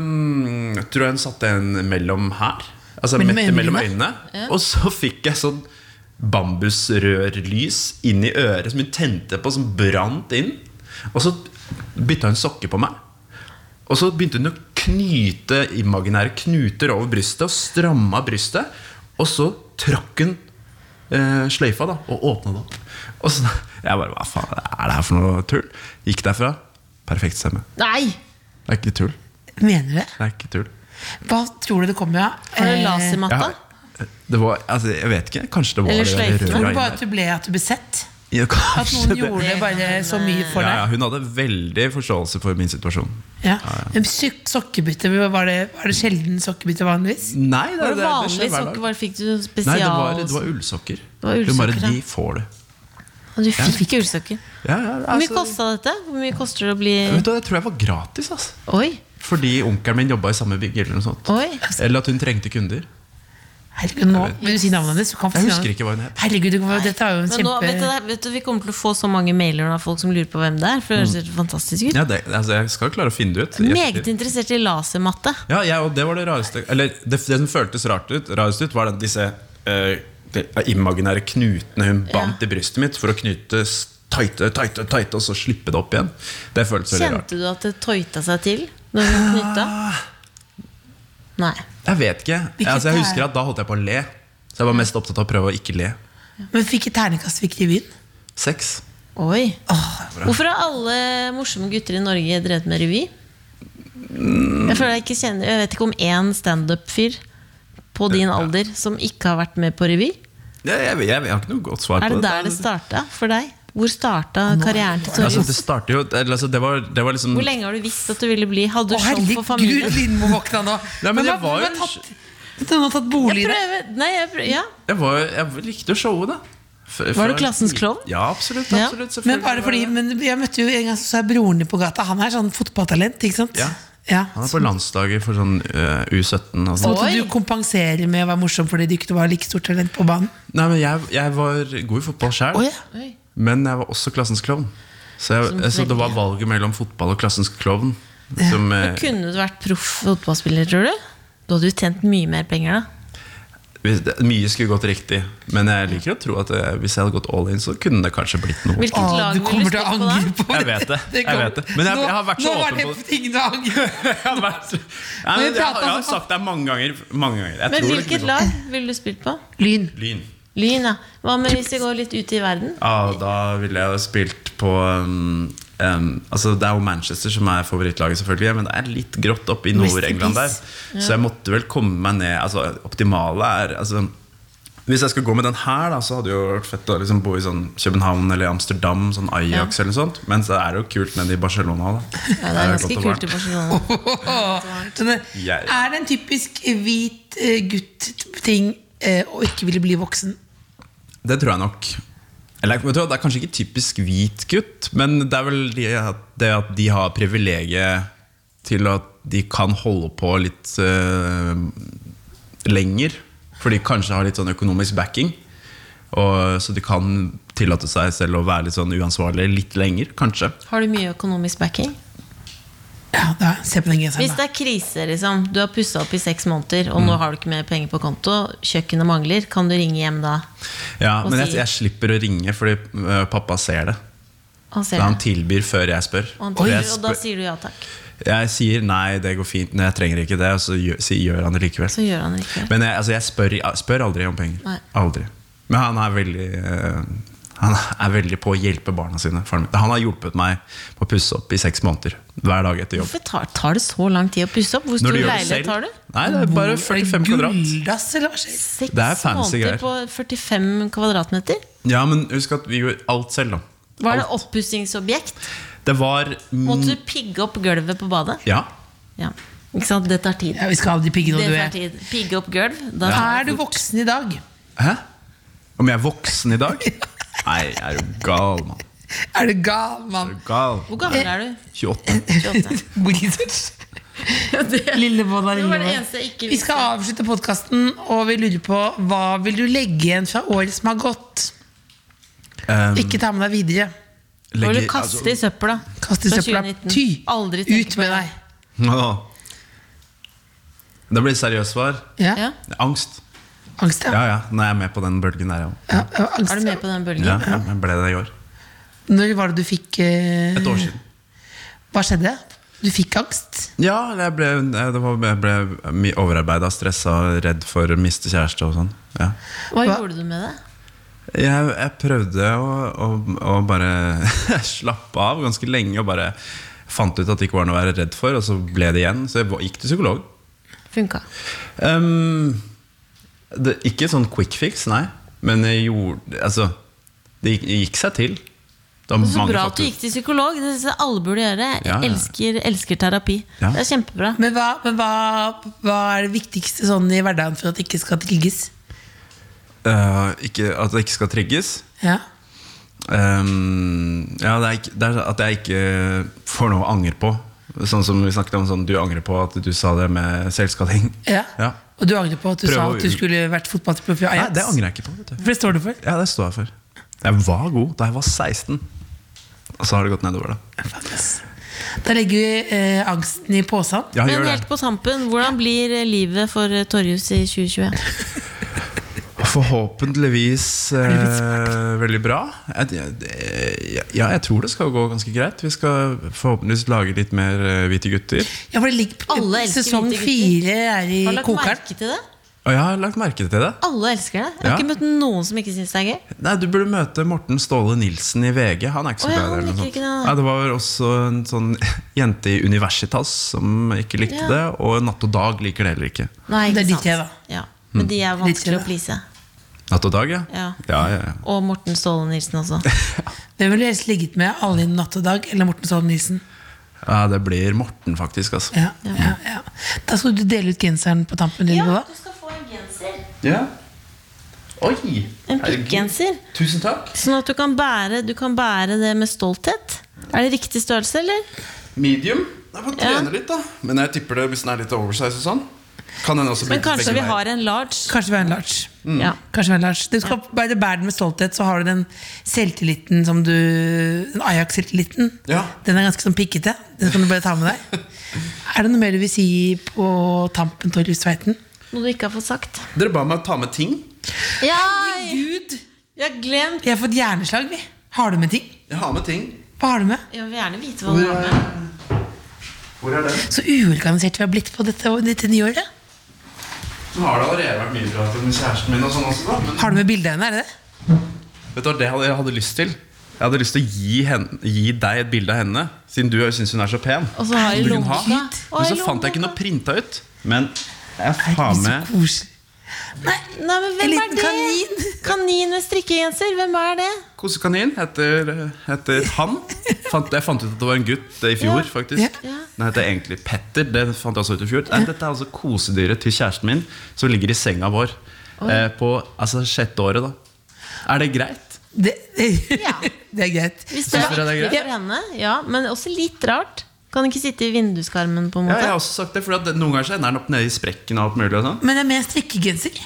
mm, tror jeg hun satte en mellom her. Altså Mellom øynene? mellom, mellom øynene. Og så fikk jeg sånn bambusrørlys inn i øret som hun tente på, som brant inn. Og så bytta hun sokker på meg. Og så begynte hun å knyte imaginære knuter over brystet og stramma brystet. Og så trakk hun eh, sløyfa da, og åpna det opp. Og så, jeg bare Hva faen er det her for noe tull? Gikk derfra. Perfekt stemme. Nei! Det er ikke tull. Mener du det? Det er ikke tull. Hva tror du det kommer av? Har du Eh, Jeg, lasermatta? har- det var, altså, jeg vet ikke. Kanskje det var Eller det der sløyfe. røra Tror du inn bare der. at du ble at du ble sett? Ja, kanskje At noen det. gjorde det bare så mye for ja, ja, deg? Hun hadde veldig forståelse for min situasjon. Ja. Men syk- Sokkebytte, var det, var det sjelden sokkebytte vanligvis? Nei, det, Var det skjer vanlig hver dag. sokker? Bare fikk du Nei, spesial... det var, det var ullsokker. var Hun bare, ullsokker, ja. de får du. Og du fikk ullsokker. Ja, ja, Hvor mye altså- kosta dette? Hvor mye koster det å bli Vet du, hva, jeg tror jeg var gratis, altså. Oi! Fordi onkelen min jobba i samme bygg. Eller noe sånt Oi! Eller at hun trengte kunder. Herregud, nå vil du si navnet hennes? du kan få Jeg si husker navnet. ikke hva hun het. Herregud, du kan- dette er jo en Men nå, kjempe... vet du, det, vet du, Vi kommer til å få så mange mailer av folk som lurer på hvem det er. For det høres helt fantastisk ut Ja, det, altså, jeg skal klare å finne det ut. i ettertid. Meget interessert i lasermatte. Ja, jeg, og det var det rareste Eller det, det som føltes rart ut, rarest ut Var den, disse eh, de, imaginære knutene hun bandt i brystet mitt For å knyte s- tighte, tighte, tighte Og så slippe det opp igjen Det føltes veldig rart Kjente du at det tøyta seg til når hun knytta? Nei. Jeg vet ikke Hvilket altså, Jeg er- husker at da holdt jeg på å le Så jeg var mest opptatt av å prøve å ikke le Men fikk et ternekast fikk revyen? Sex Oi. Hvorfor har alle morsomme gutter i Norge drevet med revy? Jeg føler jeg ikke kjenner Jeg vet ikke om én standup-fyr på din Ja. alder som ikke har vært med på revy. jeg, jeg, jeg, jeg har ikke noe godt svar Er på det det der det starta for deg? Hvor starta karrieren til Altså, Torjus? det startet jo eller, altså, det, var, det var liksom Hvor lenge har du visst at du ville bli? Hadde Å, du show sånn for herregud, familien? Lindmo våkna nå! Nei, men Hun jeg har- var hun jo- har tatt, Hun har tatt bolig i Jeg det. prøver, nei, jeg prøver, ja. jeg, var, jeg likte jo showet da F- Var du fra- klassens klovn? Ja, absolutt, Ja. absolutt selvfølgelig Men bare var fordi, det. men jeg møtte jo en gang så så jeg broren din på gata. Han er sånn fotballtalent, ikke sant? Ja. Ja. Han er på landslaget for sånn eh, U17 og Så sånt. måtte Oi. du kompensere med å være morsom fordi du ikke var like stort talent på banen. Nei, men jeg, jeg var god i fotball sjøl, Oi. men jeg var også klassens klovn. Så, Som jeg, så det var veldig- valget mellom fotball og klassens klovn. Som, eh, Kunne du vært proff fotballspiller, tror du? Du hadde jo tjent mye mer penger, da. hvis det- Mye skulle gått riktig, men jeg liker å tro at eh, hvis jeg hadde gått all in, så kunne det kanskje blitt noe. Hvilket Å, lag du ville du kommer til å stått på da? angre på Jeg vet det, jeg kommer- vet det. Men jeg- Nå- jeg har vært så Nå var åpen på det det. ting du angrer på. Jeg har vært- Nei, men jeg, har- jeg har sagt det mange ganger. Mange ganger. Jeg Men tror det hvilket kunne gått. lag ville du spilt på? Lyn. Lyn. Lyn, ja. Hva med hvis vi går litt ut i verden? Ja, da ville jeg jo spilt på um, um, Altså Det er jo Manchester som er favorittlaget, selvfølgelig men det er litt grått oppe i Nord-England der. Så jeg måtte vel komme meg ned Altså Optimale er altså, Hvis jeg skal gå med den her, da så hadde det jo vært fett å liksom bo i sånn København eller Amsterdam, sånn Ajax eller noe sånt. Men så er det jo kult nede i Barcelona. Da. Ja, det Der er godt ganske og kult i varmt. Barcelona. Sånn, Jeg- er det en typisk hvit eh, gutt-ting eh, å ikke ville bli voksen? Det tror jeg nok. Eller, vet du, hva, det er kanskje ikke typisk hvit gutt, men det er vel de, det at de har privilegiet til at de kan holde på litt eh, lenger. For de kanskje har litt sånn økonomisk backing. Og, så de kan tillate seg selv å være litt sånn uansvarlig litt lenger, kanskje. Har du mye økonomisk backing? Ja, da, se på den Hvis genseren, det da. er krise, liksom. Du har pussa opp i seks måneder, og nå Mm. har du ikke mer penger på konto. Kjøkkenet mangler. Kan du ringe hjem da? Ja, Og men jeg, si- jeg slipper å ringe, fordi eh, pappa ser det. Han Så ser han det. tilbyr før jeg spør. Og, han For jeg tenker, og da spør- sier du ja takk. Jeg sier nei, det går fint, men jeg trenger ikke det. Og så gjør, sier- gjør han det likevel. Så gjør han det ikke. Men jeg, altså, jeg spør, spør aldri om penger. Nei. Aldri. Men han er veldig eh, Han er veldig på å hjelpe barna sine. faren min. Han har hjulpet meg på å pusse opp i seks måneder hver dag etter jobb. Hvorfor tar, tar det så lang tid å pusse opp? Hvor Når stor du gjør det leilighet selv- har du? Nei, det er bare Er det 45 kvadrat. Gulldass, eller hva skjer? Seks Det er fancy måneder greier. på 45 kvadratmeter? Ja, men husk at vi gjorde alt selv, da. Var det Alt. oppussingsobjekt? Det var mm, Måtte du pigge opp gulvet på badet? Ja. Ja. Ikke sant? Det tar tid. Ja, vi skal ha de piggene Det du tar er. tid. Pigge opp gulv. Da Er du voksen i dag? Hæ? Om jeg er voksen i dag? Nei, jeg er jo gal, mann. Er du gal, Jeg mann? er Gal. Hvor gammel er du? 28. 28. Blizzards. Lillebånd er Det var det lillebånd. eneste jeg ikke Vi skal avslutte podkasten, og vi lurer på hva vil du legge igjen fra året som har gått? Um, Ikke ta med deg videre. Må du legger- kaste i søpla. Kast i Fra søpla. 2019. Ty! Aldri tenke Ut på med det. deg. Åh. Altså, Det blir et seriøst svar. Ja. Ja. Angst. Angst, ja. Ja, ja. Nå er jeg med på den bølgen der, jeg òg. ja. ja, angst. Er du med på den bølgen? Ja, ja, jeg ble det i år. Når var det du fikk eh, Et Mm. år siden. Hva skjedde? Du fikk angst? Ja, jeg ble, det var, jeg ble mye overarbeida, stressa, redd for å miste kjæreste og sånn. Ja. Hva Hva? gjorde du med det? Jeg, jeg prøvde å, å, å bare slappe av ganske lenge og bare fant ut at det ikke var noe å være redd for, og så ble det igjen. Så jeg var- gikk til psykolog. Funka. Ehm, det, ikke sånn quick fix, nei. Men jeg gjorde Altså, det gikk, gikk seg til. Det var Så mange bra at du faktorer. gikk til psykolog. Det syns jeg alle burde gjøre. Jeg Ja, ja. elsker, elsker terapi. Ja. Det er kjempebra. Men hva, men hva, hva er det viktigste sånn i hverdagen for at det ikke skal trigges? Eh, ikke, At det ikke skal trigges. Ja. Ehm, ja, det er, ikke, det er at jeg ikke får noe å angre på. Sånn som vi snakket om sånn, du angrer på at du sa det med selvskading. Ja. Ja. Og du angrer på at du Prøv sa å- at du skulle vært fotballspiller for Nei, Ajax? det angrer jeg ikke på. Vet du. For det står du for. Ja, det står jeg for. Jeg var god da jeg var 16. Og så har det gått nedover, da. Da legger vi eh, angsten i posen. Ja, Men gjør det. helt på tampen, hvordan blir livet for eh, Torjus i 2021? Forhåpentligvis eh, veldig bra. Jeg, jeg, ja, jeg tror det skal gå ganske greit. Vi skal forhåpentligvis lage litt mer eh, hvite gutter. Ja, for det ligger Alle elsker Sesong hvite gutter. fire er i Har du lagt kokeren. merke til det? Og jeg har lagt merke til det. Alle elsker det. Jeg har Ja. ikke møtt noen som ikke syns det er gøy. Nei, Du burde møte Morten Ståle Nilsen i VG. Han er ikke så Å ja, glad i han det. eller noe liker ikke sånt. det. Nei, det var også en sånn jente i Universitas som ikke likte Ja. det. Og Natt og Dag liker det heller ikke. Nei, Det ikke er ditt sant. jeg, da. Mm. Ja. Men de er Ditt jeg, vanskelig da. å please. Natt og Dag, ja? Ja. ja, ja, ja. Og Morten Ståle Nilsen også. Hvem ville du helst ligget med? Alle i Natt og Dag eller Morten Stålen Nilsen? ja det blir Morten, faktisk. Altså. Ja, ja, ja. Da skal du dele ut genseren på tampen din. Ja. skal få en genser. Ja. Oi! En herregud. pikkgenser. Tusen takk. Sånn at du kan, bære, du kan bære det med stolthet. Er det riktig størrelse, eller? Medium. Jeg får Ja. trene litt, da. Men jeg tipper det hvis den er litt oversize og sånn. Kan den også bli Men kanskje begge vi veier. Mm. har en large. Kanskje være en large. Ja. Kanskje være en large. Du skal bare bære den med stolthet, så har du den selvtilliten som du Den Ajax-selvtilliten. Ja. Den er ganske sånn pikkete. Den kan du bare ta med deg. er det noe mer du vil si på tampen, Torjus Tveiten? Noe du ikke har fått sagt. Dere ba meg ta med ting. Ja, Gud! jeg har glemt Vi har fått hjerneslag, vi. Har du med ting? Jeg har med ting. Hva har du med? Jeg vil gjerne vite hva du har med. Hvor er den? Så uorganisert vi har blitt på dette, dette nye året. Nå har det allerede vært mye prat med kjæresten min og sånn også, da. Men Har du med bilde av henne? er det det? vet du hva det hadde- jeg hadde lyst til? Jeg hadde lyst til å gi, henne, gi deg et bilde av henne, siden du syns hun er så pen. Og så har jeg Vil hun lommeboka. ha? Å, Men i så fant jeg ikke noe lommeboka. printa ut. Men jeg Det har blir så med koselig. Nei, men hvem En er liten det? kanin. Kanin med strikkegenser. Hvem er det? Kosekanin heter, heter han. Fant, jeg fant ut at det var en gutt eh, i fjor, Ja. faktisk. Ja. Den heter egentlig Petter. Det fant jeg også ut i fjor. Nei, dette er altså kosedyret til kjæresten min, som ligger i senga vår eh, på altså, sjette året. da Er det greit? Det, det, Ja. det er greit. Hvis det Synes var dere det viktig er greit? for henne. Ja, men også litt rart. Kan ikke sitte i vinduskarmen, på en Ja, jeg måte. har også sagt det, for noen ganger så ender den opp nede i sprekken. og alt mulig og sånn. Men det er med strikkegenser.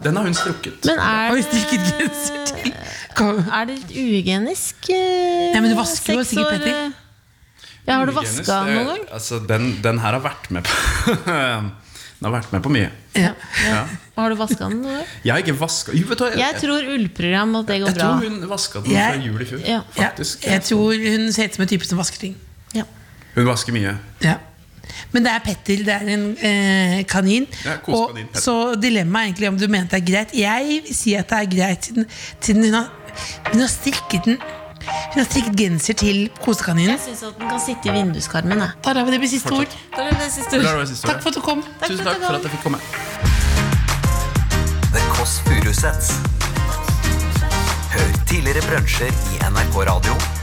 Den har hun strukket. Men er Oi, strikket genser det, til Kom. er det litt uhygienisk? eh, Nei, men du vasker jo seks sikkert, år, Petter. eh? Ja, har du Hygienisk, vaska det- noen gang? Altså, den, den her har vært med på Den har vært med på mye. Ja. Ja. Har du vasket den noen gang? Jeg har ikke vaska Jo, vet du hva, Jeg tror ullprogram at det går jeg bra. tror hun vaska den Jeg- fra jul i fjor. Ja. Ja. Faktisk. Jeg tror hun ser ut som en type som vasker ting. Ja. Hun vasker mye. Ja. Men det er Petter, det er en eh, kanin. Ja, og, kosekanin, Petter. så dilemmaet er egentlig om du mente det er greit. Jeg sier at det er greit siden, siden hun, har, hun har strikket den Hun har strikket genser til kosekaninen. Jeg syns at den kan sitte i vinduskarmen. jeg. Da lar vi det bli siste ord. Da er det det siste Det ordet. var det siste Takk ordet. for at du kom. Takk Tusen for at takk du for kom. at jeg fikk komme. The Kåss Furuseths. Hør tidligere brunsjer i NRK Radio